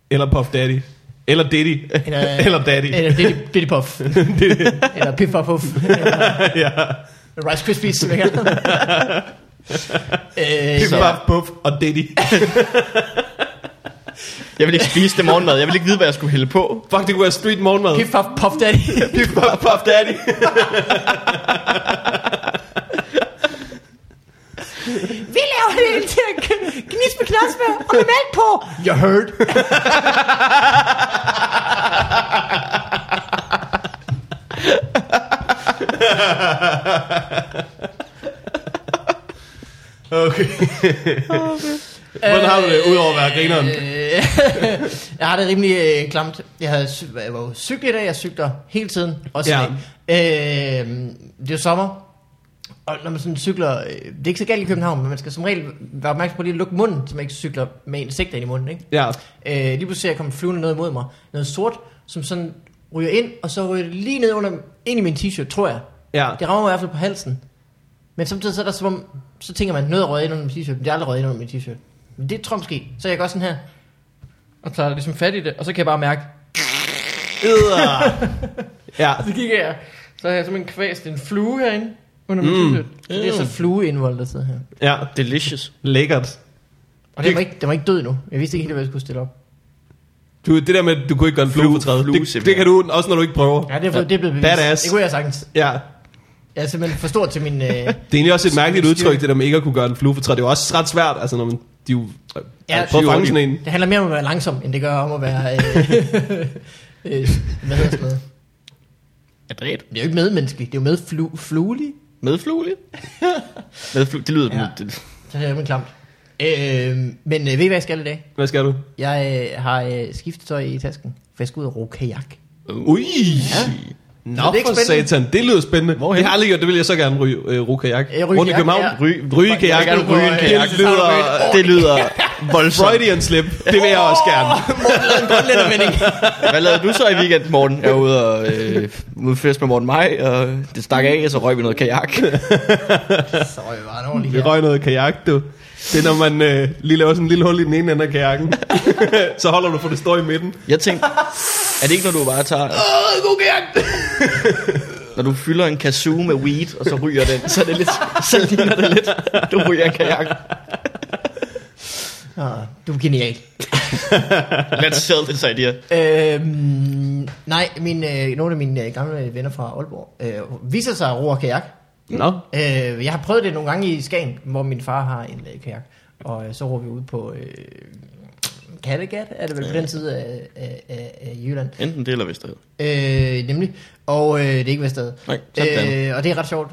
B: Eller Puff Daddy. Eller Diddy.
A: Eller-
B: Eller Daddy.
A: Eller Diddy, Diddy Puff. Eller Piff Puff Puff. Eller
B: ja.
A: Rice Krispies, som jeg kalder dem. Øh,
B: Piff,
A: så-
B: Puff, Puff og Diddy.
D: Jeg vil ikke spise det morgenmad. Jeg vil ikke vide, hvad jeg skulle hælde på.
B: Fuck, det kunne være street morgenmad.
A: Piff Puff Puff Daddy.
B: Piff, Puff, Puff Daddy.
A: Vi laver det hele til at gnise med knasbær og med mælk på. You heard.
B: Okay. Hvordan har du det, udover at være grineren?
A: Øh, jeg har det rimelig øh, klamt. Jeg, havde, cy- jeg var jo cyklet i dag, jeg cykler hele tiden. Også
B: Ja.
A: ja. øh, det er jo sommer. Og når man sådan cykler, øh, det er ikke så galt i København, men man skal som regel være opmærksom på lige at lukke munden, så man ikke cykler med en sigter ind i munden. Ikke?
B: Ja.
A: Øh, lige pludselig ser jeg komme flyvende noget imod mig. Noget sort, som sådan ryger ind, og så ryger det lige ned under, ind i min t-shirt, tror jeg.
B: Ja.
A: Det rammer mig i hvert fald på halsen. Men samtidig så er der som om, så tænker man, noget er røget ind under min t-shirt, men det er aldrig røget ind under min t-shirt. Men det tror jeg måske. Så jeg går sådan her, og tager ligesom fat i det, og så kan jeg bare mærke,
B: Edder. Ja.
A: så kigger jeg, så har jeg simpelthen kvæst en flue herinde under min
B: Mm.
A: t-shirt. Så det er så flueindvold, der sidder her.
B: Ja.
D: Delicious.
B: Lækkert.
A: Og den var ikke, den var ikke død endnu. Jeg vidste ikke helt, hvad jeg skulle stille op.
B: Du, det der med, at du kunne ikke gøre en flue for træet,
D: flue,
B: det, det,
D: simpelthen.
B: kan du, også når du ikke prøver.
A: Ja, det er, ja. det er blevet bevist.
B: Badass.
A: Det kunne jeg sagtens.
B: Ja.
A: Jeg er simpelthen for stor til min... Øh,
B: Det er egentlig også et mærkeligt udtryk, det der med ikke at kunne gøre en flue for træet. Det er jo også ret svært, altså når man, de jo,
A: Ja,
B: prøver at fange sådan en.
A: Det handler mere om at være langsom, end det gør om at være... Øh, øh, hvad hedder sådan noget?
D: Adræt.
A: Det er jo ikke medmenneskelig, det er jo medflu, fluelig.
D: Medflugelig? Medflug. Det lyder... Ja. Det,
A: Så det er jo klamt. Øh, men øh, ved I, hvad jeg skal i dag?
B: Hvad skal du?
A: Jeg øh, har øh, skiftetøj i tasken, for jeg skal ud og ro kajak.
B: Ui! Ja. Nå,
A: Så Uh. det er ikke
B: for
A: spændende.
B: satan, det lyder spændende.
D: Hvorhen?
B: Det har jeg aldrig gjort, det vil jeg så gerne ryge, øh, ruge kajak.
A: Øh, ryge
B: Rundt i
A: kajak,
B: København.
A: ja.
B: Ryge, ryge
A: Jeg vil
B: kajak.
A: gerne ryge en kajak.
B: Det lyder,
D: det lyder voldsomt.
B: Freudian slip, det vil jeg også gerne.
D: Hvad lavede du så i weekend, Morten? Jeg var ude og øh, ude at fest med Morten Maj, og det stak af, og så røg vi noget kajak.
A: Så er jeg bare en ordentlig
B: Vi
A: her.
B: røg noget kajak, du. Det er, når man øh, lige laver sådan en lille hul i den ene ende af kajakken. så holder du for
A: Mm.
B: det står i midten.
D: Jeg tænkte, er det ikke, når du bare tager...
B: Åh, god kajak!
D: når du fylder en kazoo med weed, og så ryger den, så, er det lidt, så ligner det lidt, du ryger en kajak.
A: Ah, du er genial.
D: Let's sell this idea.
A: Øhm, nej, min, øh, nogle af mine øh, gamle venner fra Aalborg øh, viser sig at roer kajak.
B: Nå.
A: Øh, jeg har prøvet det nogle gange i Skagen, hvor min far har en øh, kajak. Og øh, så roer vi ud på øh, Kattegat, er det vel på den side af, af, af, af Jylland.
D: Enten det eller Vesterhed.
A: Øh, nemlig. Og øh, det er ikke Vesterhed.
D: Nej, sådan.
A: øh, og det er ret sjovt.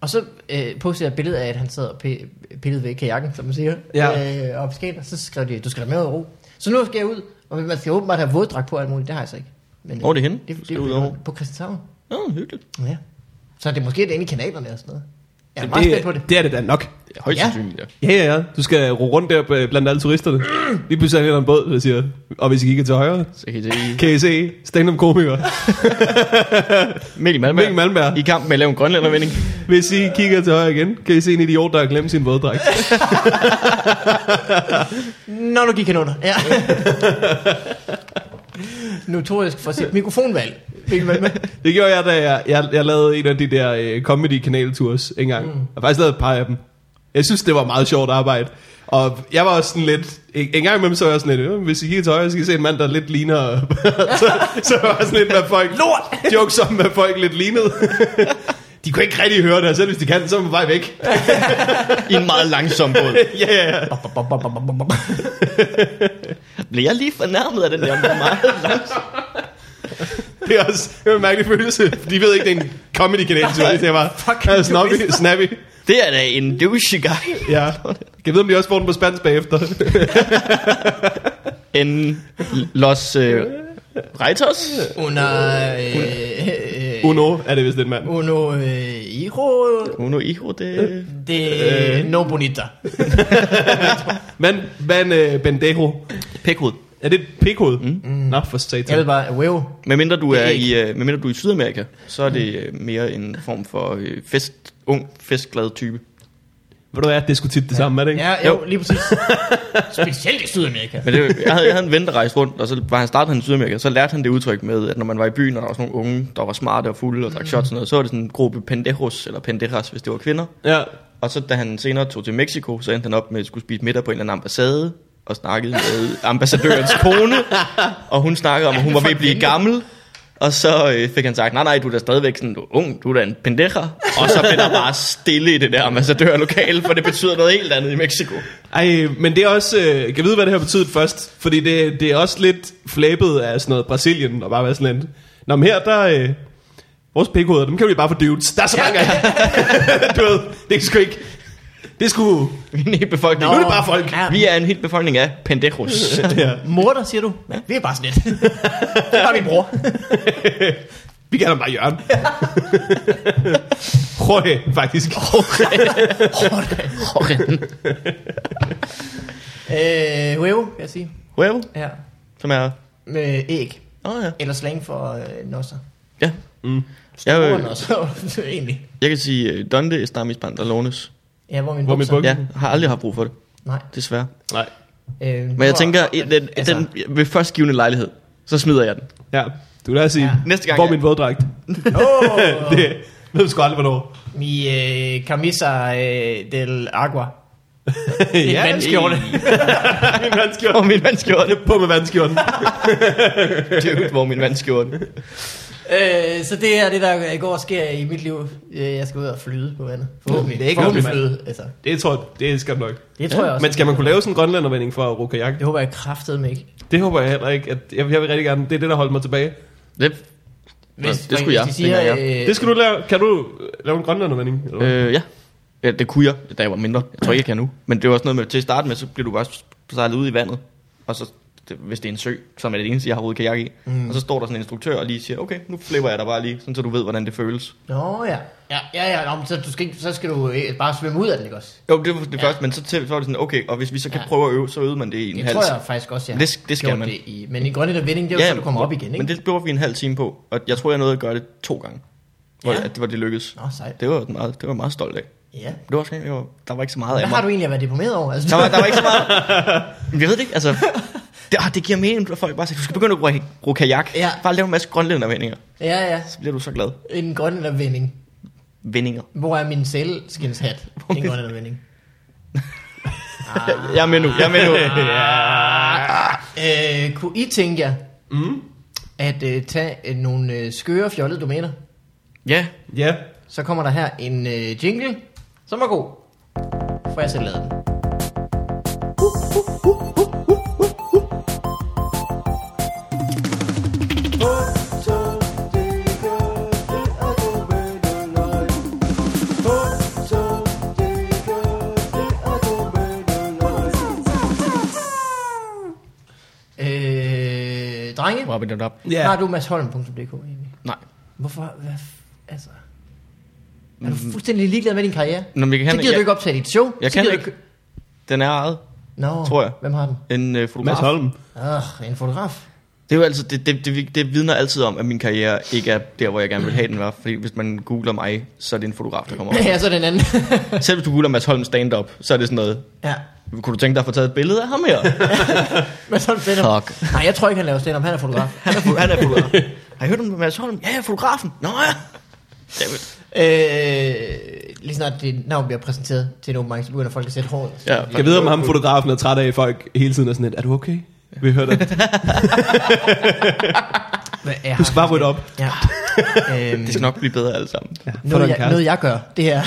A: Og så øh, postede jeg et billede af, at han sad og pi- pillede ved kajakken, som man siger.
B: Ja.
A: Øh, og på skæn, og så skrev de, du skal da med ud og ro. Så nu skal jeg ud, og man skal åbenbart have våddrag på og alt muligt. Det har jeg så ikke. Men, øh,
D: Hvor er det henne?
A: Det,
D: Du
A: det,
D: skal
A: det
D: ud
A: ud
D: og ro.
A: over. På Christianshavn.
D: Nå, hyggeligt.
A: Ja. Så det er måske det inde i kanalerne og sådan noget. Jeg er meget spændt på det.
B: Det, det er det da nok.
D: Det er højst
A: Ja.
D: sandsynligt, ja.
B: Ja, ja, ja. Du skal ro rundt der øh, blandt alle turisterne. Lige pludselig er der en båd, der siger, og hvis I kigger til højre,
D: Så kan I se
B: kan I se stand-up-komiker
D: Mikkel Malmberg.
B: Mikkel Malmberg.
D: I kamp med at lave en grønlændervending.
B: Hvis I kigger til højre igen, kan I se en idiot, der har glemt sin våddragt.
A: Nå, nu gik han under. Ja. Notorisk for sit mikrofonvalg. Mikkel Malmberg.
B: Det gjorde jeg, da jeg, jeg, jeg lavede en af de der øh, comedy-kanaltours engang. Mm. Jeg har faktisk lavet et par af dem. Jeg synes, det var meget sjovt arbejde. Og jeg var også sådan lidt... En en gang imellem så var jeg sådan lidt... Øh, hvis I kigger til højre, så kan I se en mand, der lidt ligner... så, så var jeg sådan lidt, hvad folk... Lort! Jokes om, hvad folk lidt lignede. de kunne ikke rigtig høre det, og selv hvis de kan, så er man på vej væk.
D: I en meget langsom båd.
B: Ja, ja, ja.
D: Bliver jeg lige fornærmet af den der meget langsom?
B: Det er også det er en mærkelig følelse. De ved ikke, det er en comedy-kanal, så det er bare... Fuck. Snappy, snappy.
D: Det er da en douche guy.
B: Ja. Kan jeg vide, om de også får den på spansk bagefter?
D: En Los øh, Reitos.
A: Under... Øh, øh,
B: Uno er det vist den mand.
A: Uno øh, hijo
D: Uno hijo de...
B: Øh.
A: de no bonita.
B: Men, men øh, Bendejo,
D: Pækhoved.
B: er det et pikhoved? Mm. Nå, for satan.
A: Jeg ved bare, wow.
D: Medmindre du
A: Det er
D: er i,
A: ikke-
D: øh, medmindre du er i Sydamerika, så er det øh, mere en form for øh, fest, ung, festglad type.
B: Ved du hvad, det er sgu tit det samme, er det ikke?
A: Ja, jo, lige præcis. Specielt i Sydamerika.
D: Men det, jeg, havde, jeg havde en ven, der rejste rundt, og så var han startede han i Sydamerika, så lærte han det udtryk med, at når man var i byen, og der var sådan nogle unge, der var smarte og fulde og drak shots og sådan noget, så var det sådan en gruppe pendejos, eller pendejas, hvis det var kvinder.
B: Ja.
D: Og så da han senere tog til Mexico, så endte han op med at skulle spise middag på en eller anden ambassade, og snakkede med ambassadørens kone, og hun snakkede om, at hun var ved at blive gammel. Og så øh, fik han sagt, nej nej, du er da stadigvæk sådan, du er ung, du er da en pendeja. Og så blev der bare stille i det der ambassadørlokale, for det betyder noget helt andet i Mexico.
B: Ej, men det er også, øh, kan jeg vide, hvad det her betyder først? Fordi det, det er også lidt flæbet af sådan noget Brasilien og bare være sådan lidt. Nå, men her, der øh, vores pikhoveder, dem kan vi bare få dudes. Der er så mange af jer. Du ved, det er sgu ikke, det er sgu,
D: Vi er en hel befolkning.
B: nu er det bare folk.
A: Ja.
D: Vi er en hel befolkning af pendejos.
B: Ja.
A: Morter, siger du? Ja. Det er bare sådan lidt. det er bare min bror.
B: Vi kalder ham bare Jørgen. Jorge, faktisk.
A: øh, wow, vil jeg sige.
D: Huevo,
A: Ja.
D: som er...
A: Med æg.
D: Åh oh, ja.
A: Eller slang for øh, nosser.
D: Ja. Jeg,
A: Mm. Store
D: øh,
A: nosser, egentlig.
D: jeg kan sige, øh, donde estamis pantalones.
A: Ja, hvor min
B: Hvor er min
A: bukser.
B: buk?
D: Ja, har aldrig haft brug for det,
A: Nej.
D: desværre.
B: Nej.
A: Øh,
D: Men jeg
A: hvor-
D: tænker, den, den,
A: altså-
D: den ved først givende lejlighed, så smider jeg den.
B: Ja, du vil da sige,
A: Ja.
B: ja.
D: Næste gang,
B: hvor er
D: ja.
B: min våddragt?
A: Åh,
B: Det ved vi sgu aldrig, hvornår.
A: mi øh, camisa øh, del agua. Det er en vandskjorte.
B: min vandskjorte.
D: Hvor er min vandskjorte?
B: På med vandskjorten.
D: Dude, hvor er min vandskjorte?
A: Øh, så det er det, der i går sker i mit liv. Øh, Jeg skal ud og flyde på vandet. Forhåbentlig.
B: Det er ikke
A: Forhåbentlig
B: noget,
A: flyde. Altså,
B: Det tror jeg, det er skabt nok.
A: det tror jeg også.
B: Men skal man kunne lave sådan en grønlændervending for at ro kajak?
A: Det håber jeg kraftedeme ikke.
B: Det håber jeg heller ikke. At jeg, jeg vil rigtig gerne. Det er det, der holder mig tilbage.
D: Det, Nå, det skulle jeg,
A: Hvis de siger,
D: dengang
A: øh,
B: Det skal du lave. Kan du øh, lave en grønlændervending? Eller? hvad?
D: øh, ja. ja. Det kunne jeg, da jeg var mindre. Jeg tror ikke, jeg kan nu. Men det var også noget med, til at starte med, så bliver du bare sejlet ud i vandet. Og så, det, hvis det er en sø, som er det eneste, jeg har hovedet kajak i. Mm. Og så står der sådan en instruktør og lige siger, okay, nu flipper jeg dig bare lige, sådan, så du ved, hvordan det føles.
A: Nå ja. Ja, ja, ja. Nå, men så, du skal ikke, så skal du øh, bare svømme ud af den, ikke også?
D: Jo, det var det ja. første, men så, til, så var det sådan, okay, og hvis vi så kan
A: Ja.
D: ja. prøve at øve, så øvede man det i en
A: Det
D: halv
A: tror jeg faktisk også, jeg har
D: Det sk- det skal
A: gjort
D: man.
A: Det i. Men i grønne vinding, det er jo ja, så, du kommer op igen, ikke?
D: Men det blev vi en halv time på, og jeg tror, jeg nåede at gøre det to gange, hvor,
A: Ja.
D: ja. at det, var det lykkedes.
A: Nå, sejt.
D: Det var, jeg meget, det var jeg meget stolt af.
A: Ja.
D: Det var også, jeg var, der var ikke så meget
A: Hvad
D: af
A: har
D: mig.
A: du egentlig været deprimeret over? Altså,
D: Der var, der var ikke så meget. Jeg ved det ikke, altså, Det, ah, det giver mening, at folk bare siger, du skal begynde at bruge, bruge kajak.
A: Ja.
D: Bare lave en masse grønlændervendinger.
A: Ja, ja.
D: Så bliver du så glad.
A: En grønlændervending.
D: Vendinger.
A: Hvor er min sælskinshat? En grønlændervending.
D: Jeg er med nu, jeg er med nu.
A: Øh, kunne I tænke jer, mm.
D: Øh.
A: at øh, tage øh, nogle øh, skøre, fjollede domæner?
D: ja,
B: Ja.
A: Så kommer der her en øh, jingle, som er god. For jeg selv lavet den. Øh, drenge,
D: Hvor er vi den op?
B: Ja.
A: har du masholm.dk egentlig?
D: Nej.
A: Hvorfor? Hvad, f- altså... Er du fuldstændig ligeglad med din karriere?
D: Mm. Nå, men jeg kan,
A: så gider
D: jeg,
A: du ikke optage dit show.
D: jeg
A: så
D: kan
A: gider
D: ikke. Den er ejet.
A: Nå,
D: tror jeg.
A: hvem har den?
D: En øh, fotograf.
B: Mads Holm.
A: Åh, en fotograf.
D: Det, er jo altid, det, det, det, det vidner altid om, at min karriere ikke er der, hvor jeg gerne vil have den var. Fordi hvis man googler mig, så er det en fotograf, der kommer op.
A: ja, så den anden.
D: Selv hvis du googler Mads Holm stand-up, så er det sådan noget.
A: ja.
D: Kunne du tænke dig at få taget et billede af ham her?
A: Men sådan fedt.
D: Fuck.
A: Nej, jeg tror ikke, han laver stand-up. Han er fotograf.
D: Han er, fo- han er fotograf. Har I hørt om Mads Holm? Ja, ja, fotografen. Nå ja. David.
A: øh, lige snart dit navn bliver præsenteret til en åben mic, så begynder folk at sætte håret.
D: Ja,
B: Jeg ved, om ham fotografen er træt af, at folk hele tiden er sådan lidt, er du okay? Vi hører dig.
A: Hvad er
B: Du skal bare rydde op.
A: Ja. øhm,
D: det skal nok blive bedre alle sammen.
B: dig en
A: noget, jeg,
B: kæreste.
A: noget, jeg gør, det her.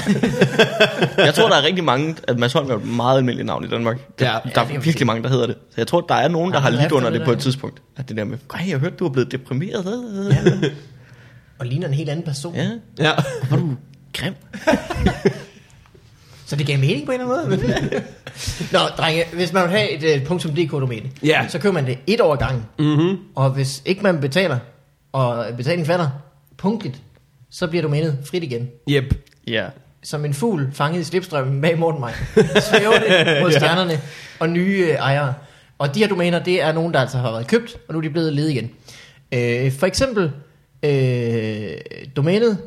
D: Jeg tror, der er rigtig mange, at Mads Holm er et meget almindeligt navn i Danmark. Der,
B: Ja.
D: ja, der
A: det
D: er
A: kan
D: virkelig mange, der hedder det. Så jeg tror, der er nogen, der
A: Ja,
D: har
A: men
D: lidt
A: efter
D: under
A: det
D: det på
A: der-
D: et tidspunkt. At det der med, nej, jeg hørte, du er blevet deprimeret.
A: Og ligner en helt anden person.
D: Ja,
B: Ja.
D: var du grim?
A: Så det gav mening på en eller anden måde. men- Nå, drenge, hvis man vil have et uh, .dk-domæne,
B: Ja.
A: så køber man det et år ad gangen.
B: Mhm.
A: Mm-hmm. Og hvis ikke man betaler, og betalingen falder punktligt, så bliver domænet frit igen.
B: Yep.
D: Ja.
A: Som en fugl fanget i slipstrømmen bag Morten Maj. Svæver det mod stjernerne og nye øh, ejere. Og de her domæner, det er nogen, der altså har været købt, og nu er de blevet ledige igen. Øh, for eksempel øh, domænet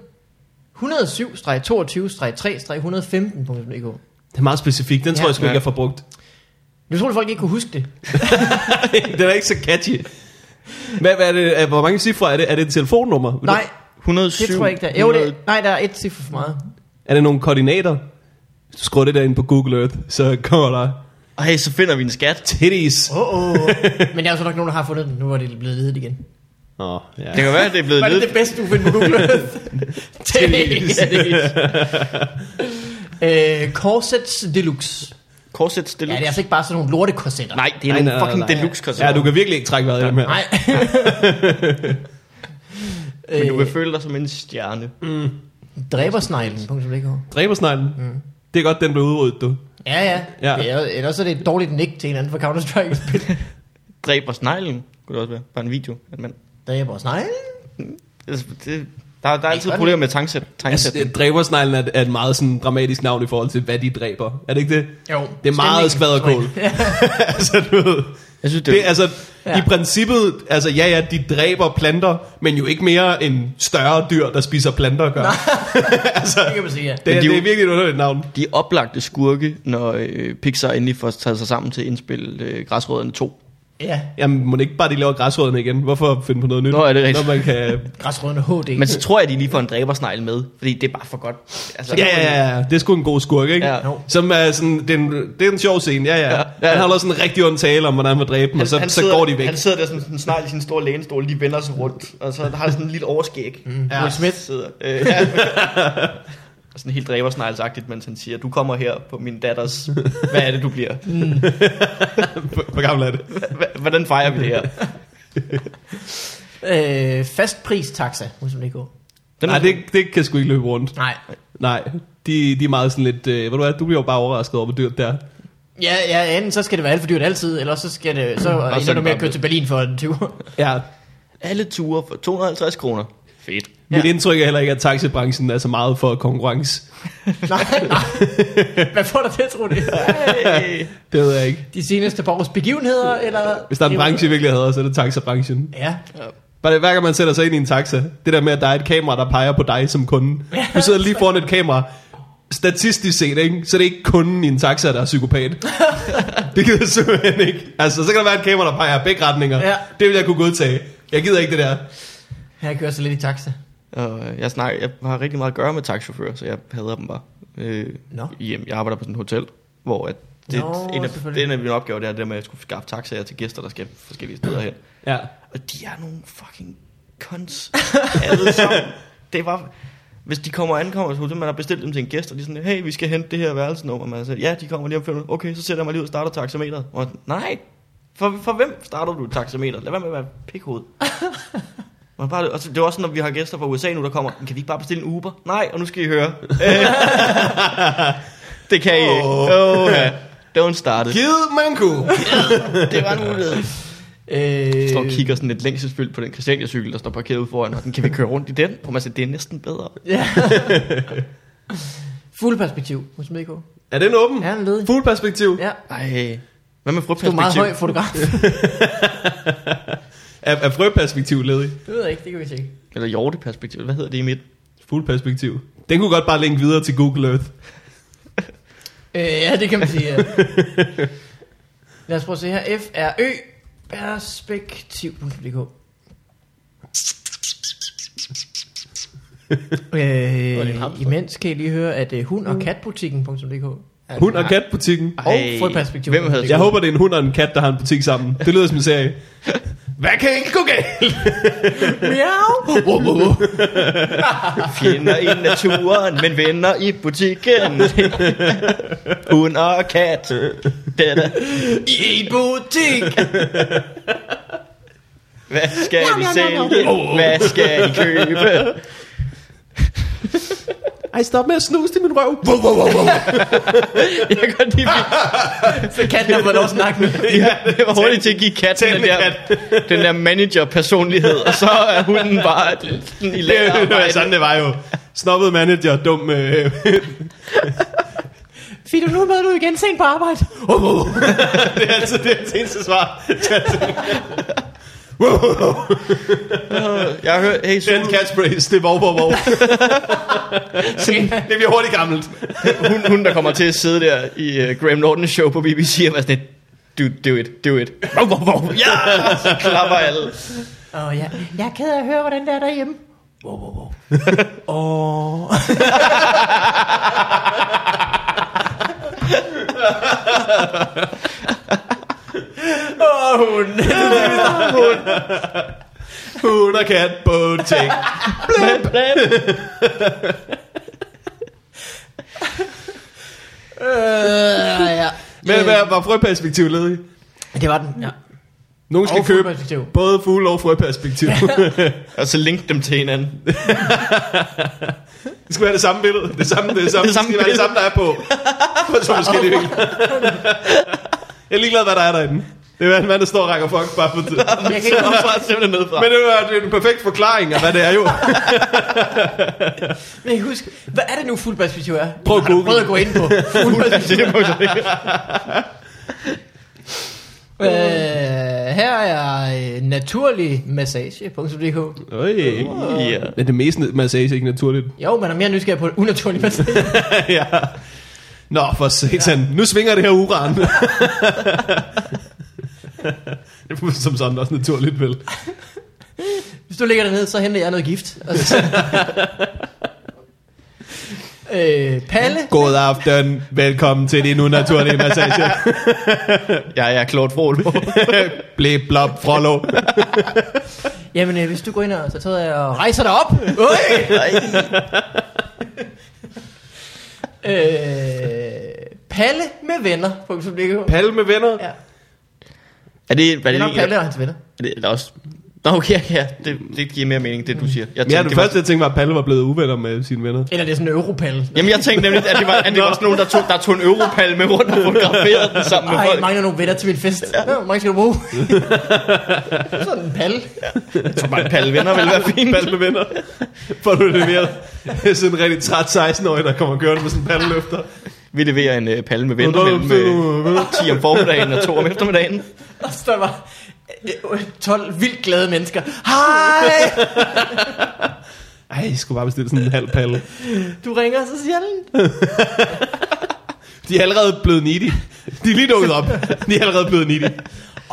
A: 107-22-3-115.dk.
B: Det er meget specifikt. Den
A: Ja.
B: tror jeg sgu
D: Ja.
B: ikke, jeg får brugt.
A: Det troede folk ikke kunne huske det.
B: den er ikke så catchy. Hvad, hvad er det, er- hvor mange cifre er det? Er det et telefonnummer? Vil du-
A: Nej,
D: 107.
A: det tror jeg ikke, der er. Jo, det, nej, der er et cifre for meget.
B: Er det nogle koordinater? Hvis du skriver det der ind på Google Earth, så kommer der
D: Ej, så finder vi en skat.
B: titties.
A: Oh, oh. Men der er jo så nok nogen, der har fundet den. Nu er det blevet ledet igen.
B: Åh, oh, ja.
D: Det kan være, at det er blevet
A: Var det
D: lidt...
A: det bedste, du finder på Google Earth? Tæs. Øh, Corsets Deluxe.
D: Korsets
A: Ja, det er
D: Deluxe.
A: altså ikke bare sådan nogle lortekorsetter.
D: Nej, det er
B: Nej,
D: nogle
B: nej, nej,
D: fucking
B: nej.
D: deluxe-korsetter.
B: Ja, du kan virkelig ikke trække vejret i dem her.
A: Nej.
D: Men du
A: øh,
D: vil føle dig som en stjerne.
A: Dræbersneglen.dk
B: Dræbersneglen. Mm. Det er godt, den blev udryddet, du.
D: Altså,
A: Ja, ja.
B: Ja.
A: ja. Det er, jo- ellers er det et dårligt nick til en anden for Counter-Strike.
D: Dræber sneglen, kunne det også være. Bare en video af en mand.
A: Dræbersneglen?
D: Altså, Det, der, der er altid
A: godt.
D: problemer med tanksæt. tanksæt.
B: Altså, det- dræbersneglen er, et- er et meget sådan, dramatisk navn i forhold til, hvad de dræber. Er det ikke det?
A: Jo.
B: Det er meget skvaderkål. altså, du ved.
D: jeg synes, det,
B: Det,
D: er,
B: er altså,
A: Ja.
B: i princippet, altså ja ja, de dræber planter, men jo ikke mere end større dyr, der spiser planter gør. altså,
A: Det kan man sige, ja.
B: det, er,
D: Men de er jo-
B: det er virkelig et underligt navn.
D: de er oplagte skurke, når øh, Pixar endelig får taget sig sammen til at indspille øh, Græsrødderne 2.
A: Ja,
B: Jamen, må det ikke bare de laver græsrødderne igen? Hvorfor finde på noget nyt?
D: Nå, er det rigtigt?
B: Når man kan...
A: græsrødende HD.
D: Men så tror jeg, de lige får en dræbersnegl med, fordi det er bare for godt. Altså,
B: Ja, ja, ja, det er sgu en god skurk, ikke?
D: Ja.
A: Jo.
B: Som er sådan, det er en, det er en sjov scene, ja, ja. ja, ja.
D: ja.
B: Han holder sådan en rigtig ond tale om, hvordan man dræber dem, og så, så går de væk.
D: Han sidder der som sådan snart i sin store lænestol, lige vender sig rundt, og så har han sådan en lille overskæg. Mm.
A: Ja. Will Smith.
D: sidder. Øh, ja. Og sådan helt dræbersneglsagtigt, mens han siger, du kommer her på min datters, hvad er det, du bliver?
B: Hvor gammel er det?
D: H- Hvordan fejrer vi det her?
A: Øh, fastpristaxa, som det går.
D: Den
B: Nej, det, det kan sgu ikke løbe rundt.
A: Nej.
B: Nej, de, de er meget sådan lidt... Øh, ved du hvad, du bliver jo bare overrasket over, hvor dyrt det er.
A: Ja, ja, enten så skal det være alt for dyrt altid, eller så skal det, så
D: er
A: ender du
D: det
A: med
D: bare
A: at køre
D: det.
A: til Berlin for en 20
B: Ja,
D: Alle ture for 250 kroner. Fedt.
B: Mit
A: Ja.
B: indtryk er heller ikke, at taxibranchen er så meget for konkurrence.
A: Nej, nej. Hvad får dig til at tro det?
D: Hey.
B: Det ved jeg ikke.
A: De seneste par års begivenheder, eller?
B: Hvis der er en branche, jeg virkelig hader, så er det taxabranchen.
A: Ja.
B: Bare det, hver gang man sætter sig ind i en taxa, det der med, at der er et kamera, der peger på dig som kunde. Du sidder lige foran et kamera. statistisk set, ikke? så det er ikke kunden i en taxa, der er psykopat. det gider jeg simpelthen ikke. Altså, så kan der være et kamera, der peger begge retninger.
A: Ja.
B: Det vil jeg kunne godtage. Jeg gider ikke det der.
A: Jeg kører så lidt i taxa.
D: Og øh, jeg, snakker, jeg har rigtig meget at gøre med taxachauffører, så jeg hader dem bare. Øh,
A: Nå.
D: hjem. Jeg arbejder på sådan et hotel, hvor at det,
A: Nå,
D: Nå, en, af, det
A: selvfølgelig.
D: er en af mine opgaver, det er det der med, at jeg skulle skaffe taxaer til gæster, der skal forskellige steder hen.
B: Ja.
D: Og de er nogle fucking cons. Alle sammen. Det var... Hvis de kommer og ankommer til hotel, man har bestilt dem til en gæst, og de er sådan, hey, vi skal hente det her værelsenummer. Man siger, ja, de kommer lige om fem minutter. Okay, så sætter jeg mig lige ud og starter taxameteret. Og jeg sådan, nej, for, for hvem starter du taxameteret? Lad være med at være pikhoved. Man bare, og så- det er også sådan, når vi har gæster fra USA nu, der kommer, kan vi ikke bare bestille en Uber? Nej, og nu skal I høre. Øh, det kan I ikke. Oh, ja. Don't start it.
B: Gid, man kunne.
D: Det var en mulighed.
A: Øh,
D: står og kigger sådan lidt længselsfyldt på den Christiania-cykel, der står parkeret ude foran, og den, kan vi køre rundt i den? Prøv at se, det er næsten bedre.
A: Ja. Fuld perspektiv hos MK.
B: Er den åben?
A: Ja, den ledig.
B: Fuld perspektiv.
A: Ja.
D: Ej, hvad med
A: Du er meget
D: frugtperspektiv?
A: høj fotograf.
B: Er, er frøperspektiv ledig?
A: det ved jeg ikke, det kan vi tjekke.
D: Eller hjorteperspektiv, hvad hedder det i midt?
B: Fuld perspektiv. Den kunne godt bare linke videre til Google Earth.
A: Øh, ja, det kan man sige. Ja. Lad os prøve at se her. FRØ perspektiv.dk øh, imens kan I lige høre, at uh, hund- og katbutikken.dk er-
B: Hund og kat butikken.
A: Og frøperspektiv.
D: Hvem havde
B: Jeg håber, det er en hund og en kat, der har en butik sammen. Det lyder som en serie. Hvad kan ikke gå galt?
A: Miau!
D: fjender i naturen, men venner i butikken? Hund og kat. Det er da.
A: I en butik!
D: Hvad skal vi sælge? Hvad skal I købe?
B: Ej, stop med at snuse til min røv.
D: Jeg kan godt lide, at
A: Så katten har fået lov at snakke med.
D: vi- det var hurtigt til at give katten den der, den der manager-personlighed, og så er hunden bare sådan i
B: Det var
D: lagerarbejde.
B: sådan, det var jo. altså- Snobbet manager, dum... Øh,
A: Fido, nu med du igen sent på arbejde.
B: det er altså det, er det eneste svar.
D: Jeg har hørt, hey, Sule,
B: Den catchphrase, det er wow, wow, wow. Det bliver hurtigt gammelt.
D: hun, hun, der kommer til at sidde der i uh, Graham Norton show på BBC og være sådan lidt, do, do it, do it. Wow, wow, wow. Ja, så klapper alle.
A: Åh oh, ja, jeg er ked af at høre, hvordan det er derhjemme. Wow, wow, wow. Åh. Åh, hun.
B: Hun og kat på ting.
A: Øh, ja.
B: Men hvad var frøperspektiv ledig?
A: Det var den, ja.
B: Nogen skal
A: Og
B: købe
A: fugleperspektiv.
B: både fugle og frøperspektiv.
D: Og så link dem til hinanden.
B: Det skal være det samme billede. Det samme, det samme, det samme
D: samme
B: skal være det samme, der er på. På to forskellige vinkler. Jeg er ligeglad, hvad der er derinde. Det er en mand, der står og rækker fuck bare på det.
A: Jeg kan ikke
D: Så er det simpelthen nedefra.
B: Men det er, det er en perfekt forklaring af, hvad det er jo.
A: men husk, hvad er det nu fuld perspektiv er?
B: Prøv at
A: Har du
B: google.
A: prøvet at gå ind på fuld perspektiv. øh, her er øh, naturligmassage.dk
B: Øj.
D: Ja.
B: Men det meste massage ikke naturligt.
A: Jo, man er mere nysgerrig på unaturlig massage.
B: ja. Nå, for satan. Nu svinger det her uran. det er som sådan også naturligt, vel?
A: Hvis du ligger dernede, så henter jeg noget gift. Og så... øh, Palle.
B: God aften. Velkommen til din unaturlige massage.
D: Jeg er Claude Frolo.
B: Blæ, blop, frollo.
A: Jamen, øh, hvis du går ind og så tager jeg og rejser dig op. Øj! øh, Palle med venner. .dk.
B: Palle med venner.
A: Ja.
D: er det, hvad
A: Det
D: er
A: er nok
D: det,
A: Palle
D: er
A: og hans venner.
D: det, er det også? Nå, okay, ja, det, det giver mere mening, det du siger. Jeg
B: Men ja, det,
D: det var-
B: første, jeg tænkte var, at Palle var blevet uvenner med sine venner.
A: Eller det er sådan en europalle.
D: Jamen, jeg tænkte nemlig, at det var, at det var sådan nogen, der tog, der tog en europal med rundt og fotograferede den sammen med
A: Ej, jeg
D: folk.
A: mangler nogle venner til min fest. Ja. Nå, hvor mange skal du bruge? sådan en palle.
D: Jeg tror bare, en palle venner ville være fint.
B: Palle med venner. Får du det mere? Sådan en rigtig træt 16-årig, der kommer kørende med sådan en palleløfter.
D: Vi leverer en øh, palle med venner
B: Nå,
D: mellem øh, 10 om formiddagen og 2 om eftermiddagen.
A: Og så der var øh, 12 vildt glade mennesker. Hej!
B: Ej, jeg skulle bare bestille sådan en halv palle.
A: Du ringer så sjældent.
B: De er allerede blevet needy. De er lige dukket op. De er allerede blevet needy.
A: Åh,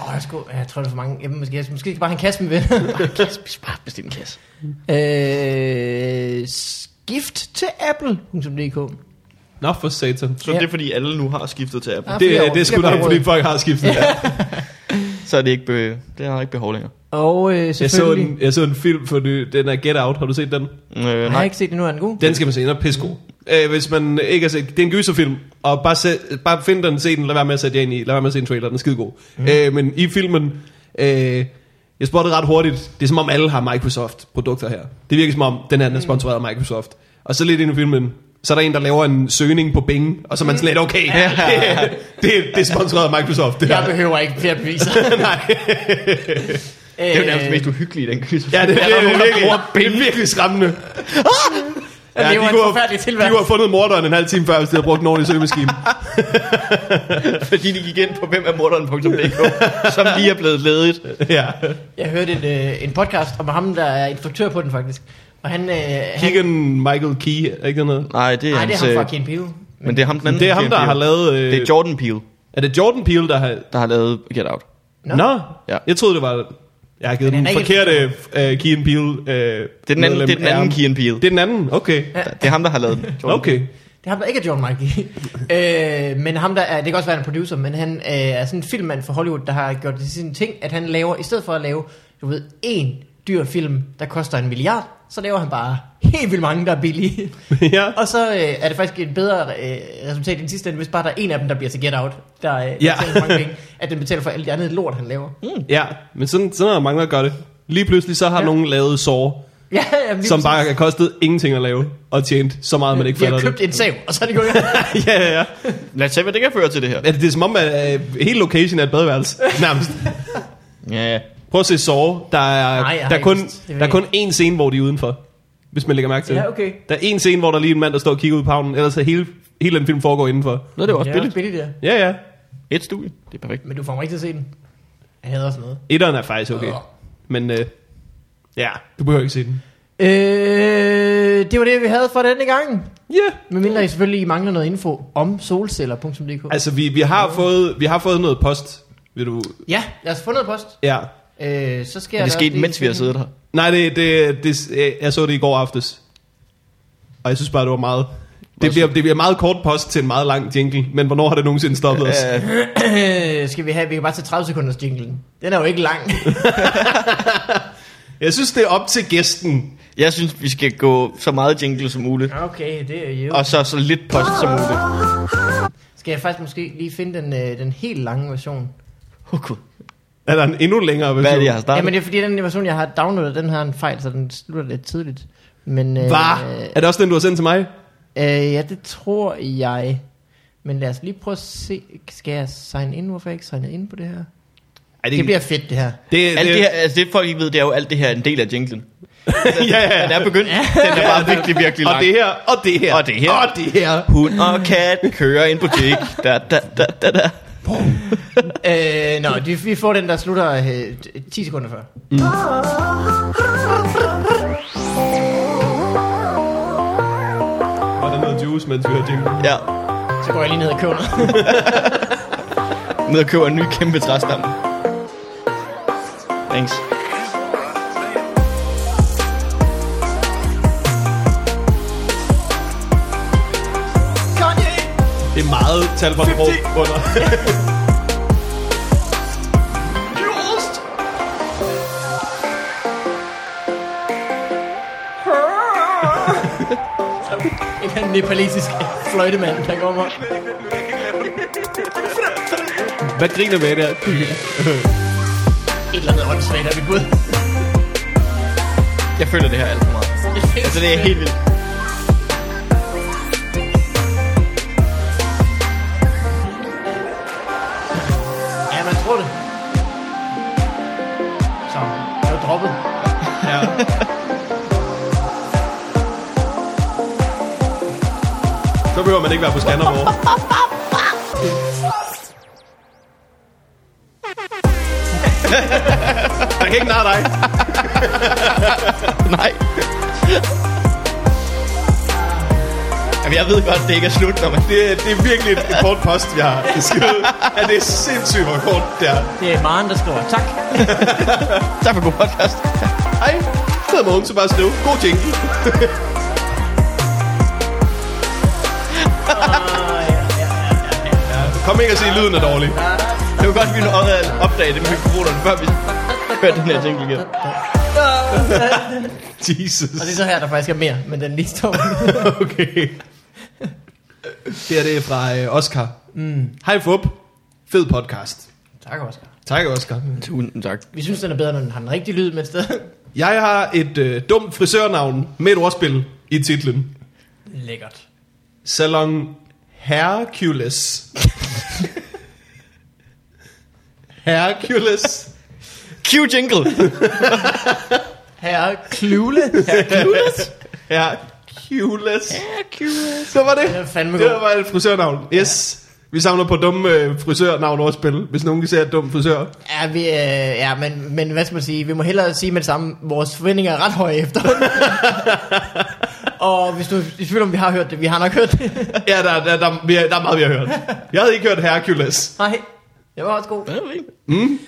A: oh, jeg, skulle, jeg tror, det er for mange. Jamen, måske, jeg, måske skal jeg bare have en kasse med venner.
D: Bare en kasse, Bare bestil en kasse.
A: øh, skift til apple.dk.
B: Nå, for satan.
D: Så
A: Ja.
D: ja. det er fordi alle nu har skiftet til Apple.
A: Ja.
D: Ja.
B: Det, er- det er sgu
A: Jeg
B: nok,
A: får
B: fordi
A: råd.
B: folk har skiftet.
D: Så er det ikke, be, det har ikke behov længere.
A: Og øh,
B: Jeg så,
A: selvfølgelig...
B: en, jeg så en film for ny, den er Get Out. Har du set den?
D: Øh,
A: Jeg har
D: nej.
A: ikke set det nu, er den god?
B: Den skal man se, den er pissegod. Øh, hvis man ikke har set, det er en gyserfilm, og bare, se, bare find den, se den, lad være med at sætte jer ind i, lad være med at se en trailer, den er skidegod.
A: Mhm.
B: Mm. Øh, men i filmen, øh, jeg spottede ret hurtigt, det er som om alle har Microsoft-produkter her. Det virker som om, den her den er sponsoreret af Microsoft. Og så lidt ind i filmen, så er der en, der laver en søgning på Bing, og så er man sådan lidt, okay, det, det, det er sponsoreret af Microsoft. Det her.
A: Jeg behøver ikke flere beviser. Øh,
B: Nej.
D: Det er jo nærmest mest uhyggelige, den kysse.
B: Ja, det, det, det,
D: der
B: det,
D: er nogen, der
B: virkelig,
D: bruger
B: det er virkelig skræmmende.
A: Ja, det
B: de
A: var en
B: kunne have-
A: forfærdelig
B: De
A: tilværelse.
B: kunne have fundet morderen en halv time før, hvis de havde brugt nogen i søgemaskinen.
D: Fordi de gik ind på hvem er morderen.dk, som lige er blevet ledet.
B: ja.
A: Jeg hørte en, øh, en podcast om ham, der er instruktør på den faktisk. Og han... Øh, han
B: Keegan Michael Key, er ikke det noget?
D: Nej, det er,
A: nej, det er
D: hans, øh,
A: ham fra Ken Pio.
D: Men Mm. det er ham den anden.
B: Det er ham,
D: Jordan
B: der
D: Peele.
B: har lavet... Øh,
D: Det er Jordan Peele,
B: er det Jordan Peele, der har...
D: der har lavet Get Out.
A: Nå.
B: Nå, Nå.
D: Ja.
B: jeg troede, det var... Jeg har givet
A: Men
B: den
A: han er ikke-
B: forkerte øh, Keegan Peele øh,
D: Det er den anden, det er den anden Kieran Peele.
B: Det er den anden, okay.
D: Det er ham, der har lavet den. Jordan
B: Okay.
A: Det er ham, der ikke er John Mikey. øh, men ham, der er, det kan også være en producer, men han øh, er sådan en filmmand fra Hollywood, der har gjort det til sin ting, at han laver, i stedet for at lave, du ved, en dyr film, der koster en milliard, så laver han bare helt vildt mange, der er billige.
B: ja.
A: Og så øh, er det faktisk et bedre øh, resultat end sidste ende, hvis bare der er en af dem, der bliver til Get Out, der øh, ja. betaler så mange penge, at den betaler for alt det andet lort, han laver.
B: ja, men sådan, sådan er der mange, der gør det. Lige pludselig så har
A: Ja.
B: ja. nogen lavet sår,
A: Ja, ja, lige
B: som
A: præcis.
B: bare har kostet ingenting at lave, og tjent så meget, man ikke
A: De har
B: fatter
A: købt
B: det.
A: en sav, og så er det gået i gang.
B: ja, ja, ja.
D: Peele. Lad os se, hvad det kan føre til det her.
B: Er det, det er som om, at øh, hele location er et badeværelse, nærmest.
D: Ja, ja.
B: Prøv at se Saw. Der er,
A: Nej,
B: Nej,
A: jeg har
B: der er
A: ikke
B: kun,
A: lyst. Det vil
B: der er
A: jeg
B: kun én scene, hvor de er udenfor. Hvis man lægger mærke til
A: Ja,
B: det.
A: okay.
B: Der er én scene, hvor der er lige en mand, der står og kigger ud på havnen. Ellers er hele, hele den film foregår indenfor.
D: Nå, det var også
A: Ja, det er
D: billigt.
A: billigt, ja.
B: Ja, ja.
D: Et studie. Det er perfekt.
A: Men du får mig ikke til at se den. Jeg hader sådan noget.
B: Etteren er faktisk okay. Men øh, ja, du behøver ikke se den.
A: Øh, det var det, vi havde for denne gang.
B: Ja. Yeah.
A: Men mindre I selvfølgelig mangler noget info om solceller.dk. Altså,
B: Altså, vi, vi, har fået, vi har fået noget post. Vil du...
A: ja, lad os få noget post.
B: Ja.
A: Øh, så skal
D: Men
A: jeg da
D: det skete,
A: også lige
D: mens vi har
A: finde-
D: siddet her.
B: Nej, det, det, det, øh, jeg så det i går aftes. Og jeg synes bare, det var meget... Det bliver, det bliver meget kort post til en meget lang jingle, men hvornår har det nogensinde stoppet os?
A: Øh, skal vi have, vi kan bare tage 30 sekunders jinglen. Den er jo ikke lang.
B: Jeg synes, det er op til gæsten.
D: Jeg synes, vi skal gå så meget jingle som muligt.
A: okay, det er jo.
D: Og så så lidt post som muligt.
A: Skal jeg faktisk måske lige finde den, øh, den helt lange version?
D: Åh, oh, Gud.
B: Er der en endnu længere version?
D: Hvad er det, jeg har startet?
A: Jamen det er fordi, den version, jeg har downloadet, den har en fejl, så den slutter lidt tidligt. Men, øh,
B: Hva? Er det også den, du har sendt til mig?
A: Øh, ja, det tror jeg. Men lad os lige prøve at se. Skal jeg sign in? Hvorfor er jeg ikke signet ind på det her?
B: Ej,
A: Det bliver fedt, det her.
B: Det,
D: Alt det her, altså det folk ikke ved, det er jo alt det her er en del af jinglen.
B: ja, ja.
D: Den er begyndt. Den er bare virkelig, virkelig
B: Og
D: lang.
B: det her, og det her.
D: Og det her.
B: Og det her.
D: Hund og kat kører i en butik. Da, da, da, da, da.
A: Øh, nå, vi, vi får den, der slutter øh, t- 10 sekunder før.
B: Og der er noget juice, mens vi hører jingle.
D: Ja.
A: Så går jeg lige ned og køber noget.
D: Ned og køber en ny kæmpe træstamme. Thanks.
B: Det er meget tal for sprog under.
A: En eller anden nepalesisk fløjtemand, der kommer.
B: Hvad griner med det her?
A: Et eller andet åndssvagt er vi gået.
D: Jeg føler det her alt for meget. Altså det er helt vildt.
A: Ja, man tror det. Så, jeg er jo droppet.
B: Ja. Så behøver man ikke være på Skanderborg. Jeg kan ikke narre dig.
D: Nej. Jamen, jeg ved godt, det ikke er slut, når man...
B: Det, er- det er virkelig et, et kort post, vi har beskrevet. Ja, det er sindssygt, hvor kort det er.
A: Det er Maren, der skriver tak.
D: Tak for god podcast.
B: Hej, jeg hedder Mogens Sebastian Snev. God jingle. Ja, Kom ikke og se, lyden er dårlig.
D: Det var godt, at vi nu op- opdagede det med mikrofonerne, før vi hørte den her jingle igen.
B: Jesus.
A: Og det er så her, der faktisk er mere, men den lige står.
B: Okay. Det er det er fra øh, Oscar. Mm. Hej Fup. Fed podcast.
A: tak, Oscar.
B: Tak, Oscar.
D: Tusind tak.
A: Vi synes, den er bedre, når den har en rigtig lyd med et sted.
B: Jeg har et øh, dumt frisørnavn med et ordspil i titlen.
A: Lækkert.
B: Salon Hercules. Hercules.
D: Cue jingle!
A: Herre Klule. Herre Klules.
B: Hercules. Hercules. Det var det.
A: Den er fandme
B: Det
A: god.
B: var et frisørnavn. Yes. Vi samler på dumme øh, frisørnavn ordspil, hvis nogen kan se et dumt frisør.
A: Ja, vi, øh, ja men, men hvad skal man sige? Vi må hellere sige med det samme, vores forventninger er ret høje efterhånden. Og hvis du er i tvivl om, vi har hørt det, vi har nok hørt det.
B: Ja, der, der, der, der, der er meget, vi har hørt. Jeg havde ikke hørt Hercules.
A: Nej, det var også god. Herre,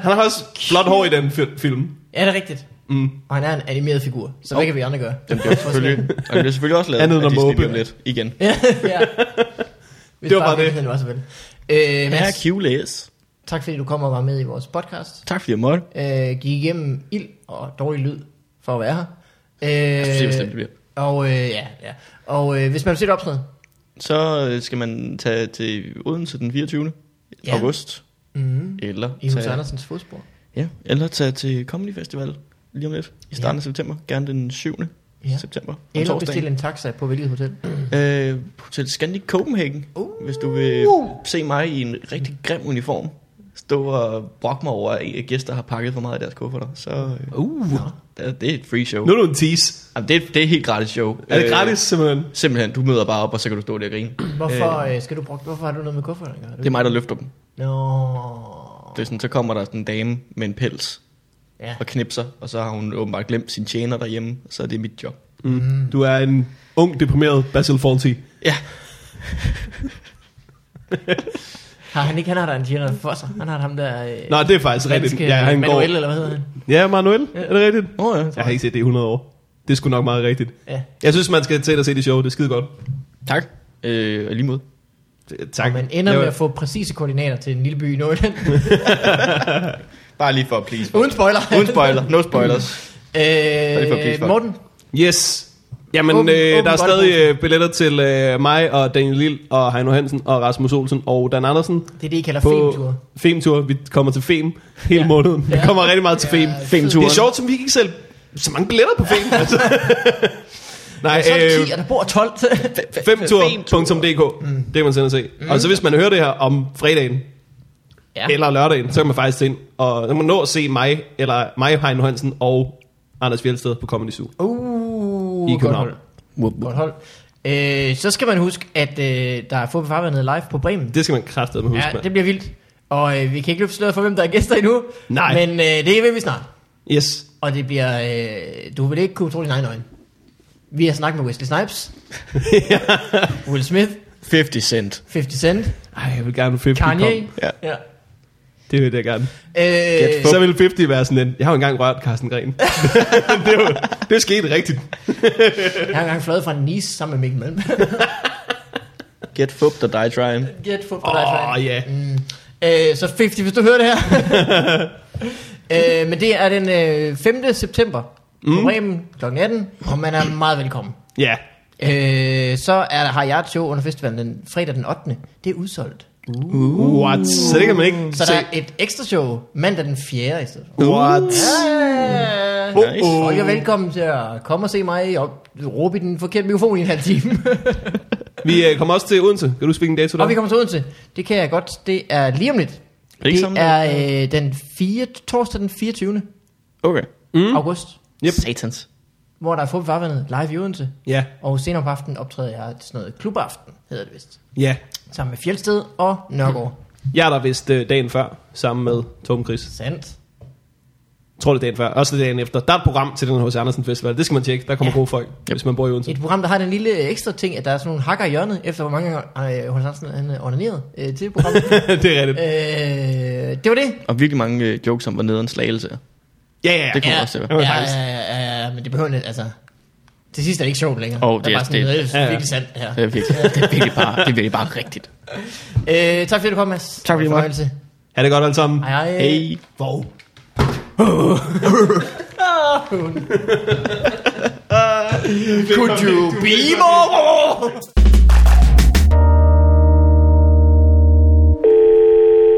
B: Han har også flot hår i den fi- film.
A: Ja, det er rigtigt.
B: Mm.
A: Og han er en animeret figur, så hvad kan vi andre gøre?
D: Den bliver selvfølgelig, og den bliver selvfølgelig også lavet
B: Andet end
D: af
B: at
D: Disney
B: måbe.
D: Violet igen.
A: ja. ja. Hvis
B: Det var bare det.
A: Det var så vel. Øh,
D: Her er
A: Mads,
D: Q-læs.
A: tak fordi du kom og var med i vores podcast.
D: Tak fordi jeg måtte.
A: Øh, gik igennem ild og dårlig lyd for at være her. Øh, jeg
D: synes, det er bestemt, det bliver.
A: Og øh, ja, ja. Og øh, hvis man vil se et optræde,
D: Så øh, skal man tage til Odense den 24.
A: Ja.
D: Ja. august.
A: mm,
D: Eller
A: i Hus
D: tage,
A: Andersens fodspor.
D: ja, eller tage til Comedy Festival lige om lidt. I starten af september. Gerne den 7.
A: Ja.
D: Ja. september. Om
A: Eller
D: torsdagen.
A: bestil en taxa på hvilket hotel.
D: Øh, Hotel Scandic Copenhagen.
A: Uh.
D: Uh. Hvis du vil se mig i en rigtig grim uniform. Stå og brokke mig over, at gæster har pakket for meget af deres kufferter. Så uh. det, det er et free show.
B: Nu er du en tease.
D: Jamen, det, er, det er et helt gratis show.
B: Er det
D: Øh,
B: gratis, simpelthen?
D: Simpelthen, du møder bare op, og så kan du stå der og grine.
A: Hvorfor, øh, skal du bruge, hvorfor har du noget med kuffert?
D: Det er mig, der løfter dem.
A: Nå.
D: Det er sådan, så kommer der sådan en dame med en pels
A: Ja.
D: og knipser, og så har hun åbenbart glemt sin tjener derhjemme, og så er det mit job.
B: Mm. Du er en ung, deprimeret Basil Fawlty.
D: Ja,
A: Har han ikke, han har da en tjener for sig. Han har ham der... Øh,
B: Nej, det er faktisk rigtigt.
A: danske
B: Ja, han går.
A: Manuel, eller hvad hedder han?
B: Ja, Manuel. Er det rigtigt?
D: oh, ja.
B: Jeg har ikke set det i 100 år. Det er sgu nok meget rigtigt.
A: Ja.
B: Jeg synes, man skal tage og se det show. Det er skide godt.
D: tak. Øh, og lige mod.
B: Det- Tak.
A: Man ender
B: Jeg-
A: med at få præcise koordinater til en lille by i Nordjylland.
D: Bare lige for at please.
A: Uden spoiler.
D: Uden spoiler, no spoilers. er lige for at please
A: Øh,
D: folk.
A: Morten,
B: Yes. Jamen,
A: Åben-
B: åben, øh,
A: åben
B: der er
A: bolden.
B: stadig øh, billetter til øh, mig og Daniel Lille og Heino Hansen og Rasmus Olsen og Dan Andersen.
A: det er det, I kalder
B: På
A: filmtur.
B: Femtur. Vi kommer til Fem hele
A: Ja.
B: ja. måneden. Vi
A: Ja.
B: kommer rigtig meget til Fem.
D: Femturen.
B: Det er sjovt, som vi ikke selv så mange billetter på Fem. altså. Nej,
A: Så er det 10,
B: øh,
A: og der bor 12.
B: femtur.dk.
A: Mm.
B: Det kan man sende og se. Og så hvis man hører det her om fredagen,
A: ja.
B: eller lørdagen, så kan man faktisk tage ind og så kan man nå at se mig, eller mig, Heino Hansen og Anders Fjeldsted på Comedy Zoo.
A: Uh,
B: I
A: godt
B: København.
A: hold. Godt hold. Øh, så skal man huske, at øh, der er få farvandet live på Bremen.
B: Det skal man kraftedeme huske,
A: ja,
B: mand.
A: det bliver vildt. Og øh, vi kan ikke løfte sløret for, hvem der er gæster endnu.
B: Nej.
A: Men øh, det ved vi snart.
B: Yes.
A: Og det bliver... Øh, du vil ikke kunne tro dine egne øjne. Vi har snakket med Wesley Snipes. Will Smith.
D: 50 cent.
A: 50 Cent.
B: Ej, jeg vil gerne 50
A: Kanye.
B: Kom.
D: Ja.
A: ja.
B: Det vil jeg gerne.
A: Øh,
B: Så vil 50 være sådan en, jeg har jo engang rørt Carsten Gren. det, er jo, det er sket rigtigt.
A: jeg har engang fløjet fra Nice sammen med Mikkel Malm.
D: Get fucked og die trying.
A: Get for
B: Åh, oh, ja.
A: Øh, så 50, hvis du hører det her. øh, men det er den øh, 5. september mm. på Bremen kl. 18, og man er meget velkommen.
B: Ja.
A: Øh, så er der, har jeg et show under festivalen den fredag den 8. Det er udsolgt.
B: What? Så det kan man ikke
A: Så
B: se.
A: der er et ekstra show mandag den 4. i stedet for.
B: What?
A: Ja.
D: Nice.
B: Oh, oh.
A: Folk er velkommen til at komme og se mig og råbe i den forkerte mikrofon i en halv time.
B: Vi øh, kommer også til Odense. Kan du huske, hvilken dato der?
A: og vi kommer til Odense. Det kan jeg godt. Det er lige om lidt.
D: det ikke
A: Det
D: samme
A: er øh, den 4, torsdag den 24.
D: Okay.
A: Mm. august.
B: Yep.
D: Satans.
A: hvor der er fod farvandet live i Odense.
B: Ja.
A: Og senere på aftenen optræder jeg til sådan noget klubaften, hedder det vist.
B: Ja.
A: Sammen med Fjeldsted og Nørgaard. Mm.
B: Jeg er der vist øh, dagen før, sammen med Tom Chris.
A: Sandt.
B: Jeg tror det er dagen før, også det er dagen efter. Der er et program til den H.C. Andersen Festival, det skal man tjekke, der kommer
A: Ja.
B: ja. gode folk, hvis man bor i Odense.
A: Et program, der har den lille ekstra ting, at der er sådan nogle hakker i hjørnet, efter hvor mange gange øh, Hans Hansen han øh, onanerede øh, til programmet.
B: det er rigtigt.
A: øh, det var det.
D: Og virkelig mange øh, jokes om, hvor nederen slagelse er.
B: Ja, ja,
D: Det
B: ja.
D: kommer også til at være.
B: Det var
A: ja,
B: faktisk-
A: ja, ja, ja, men det behøver lidt, altså... Til sidst er det ikke sjovt længere.
D: Åh, det
A: der
D: er-
A: bare sådan,
D: det-
A: noget, det
B: ja,
A: er
B: ja.
A: virkelig sandt her.
D: Det er virkelig, det er virkelig, bare, det er virkelig bare rigtigt.
A: Øh, tak fordi du kom, Mads.
D: Tak fordi du måtte.
A: måtte.
B: Ha' det godt alle sammen.
A: Hej, hej.
D: Hey.
B: Wow.
A: Could you be more?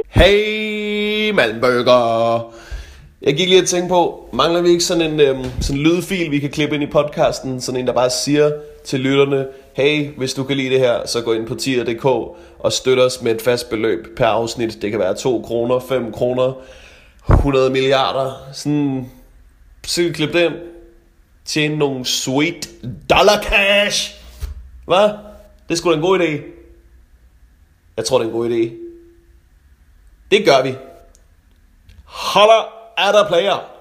G: Hey, Malmbøger! Jeg gik lige og tænkte på, mangler vi ikke sådan en, øhm, sådan en lydfil, vi kan klippe ind i podcasten? Sådan en, der bare siger til lytterne, hey, hvis du kan lide det her, så gå ind på tier.dk og støt os med et fast beløb per afsnit. Det kan være 2 kroner, 5 kroner, 100 milliarder. Sådan, så kan vi klippe det ind. Tjene nogle sweet dollar cash. Hvad? Det skulle sgu da en god idé. Jeg tror, det er en god idé. Det gør vi. Holler er der player.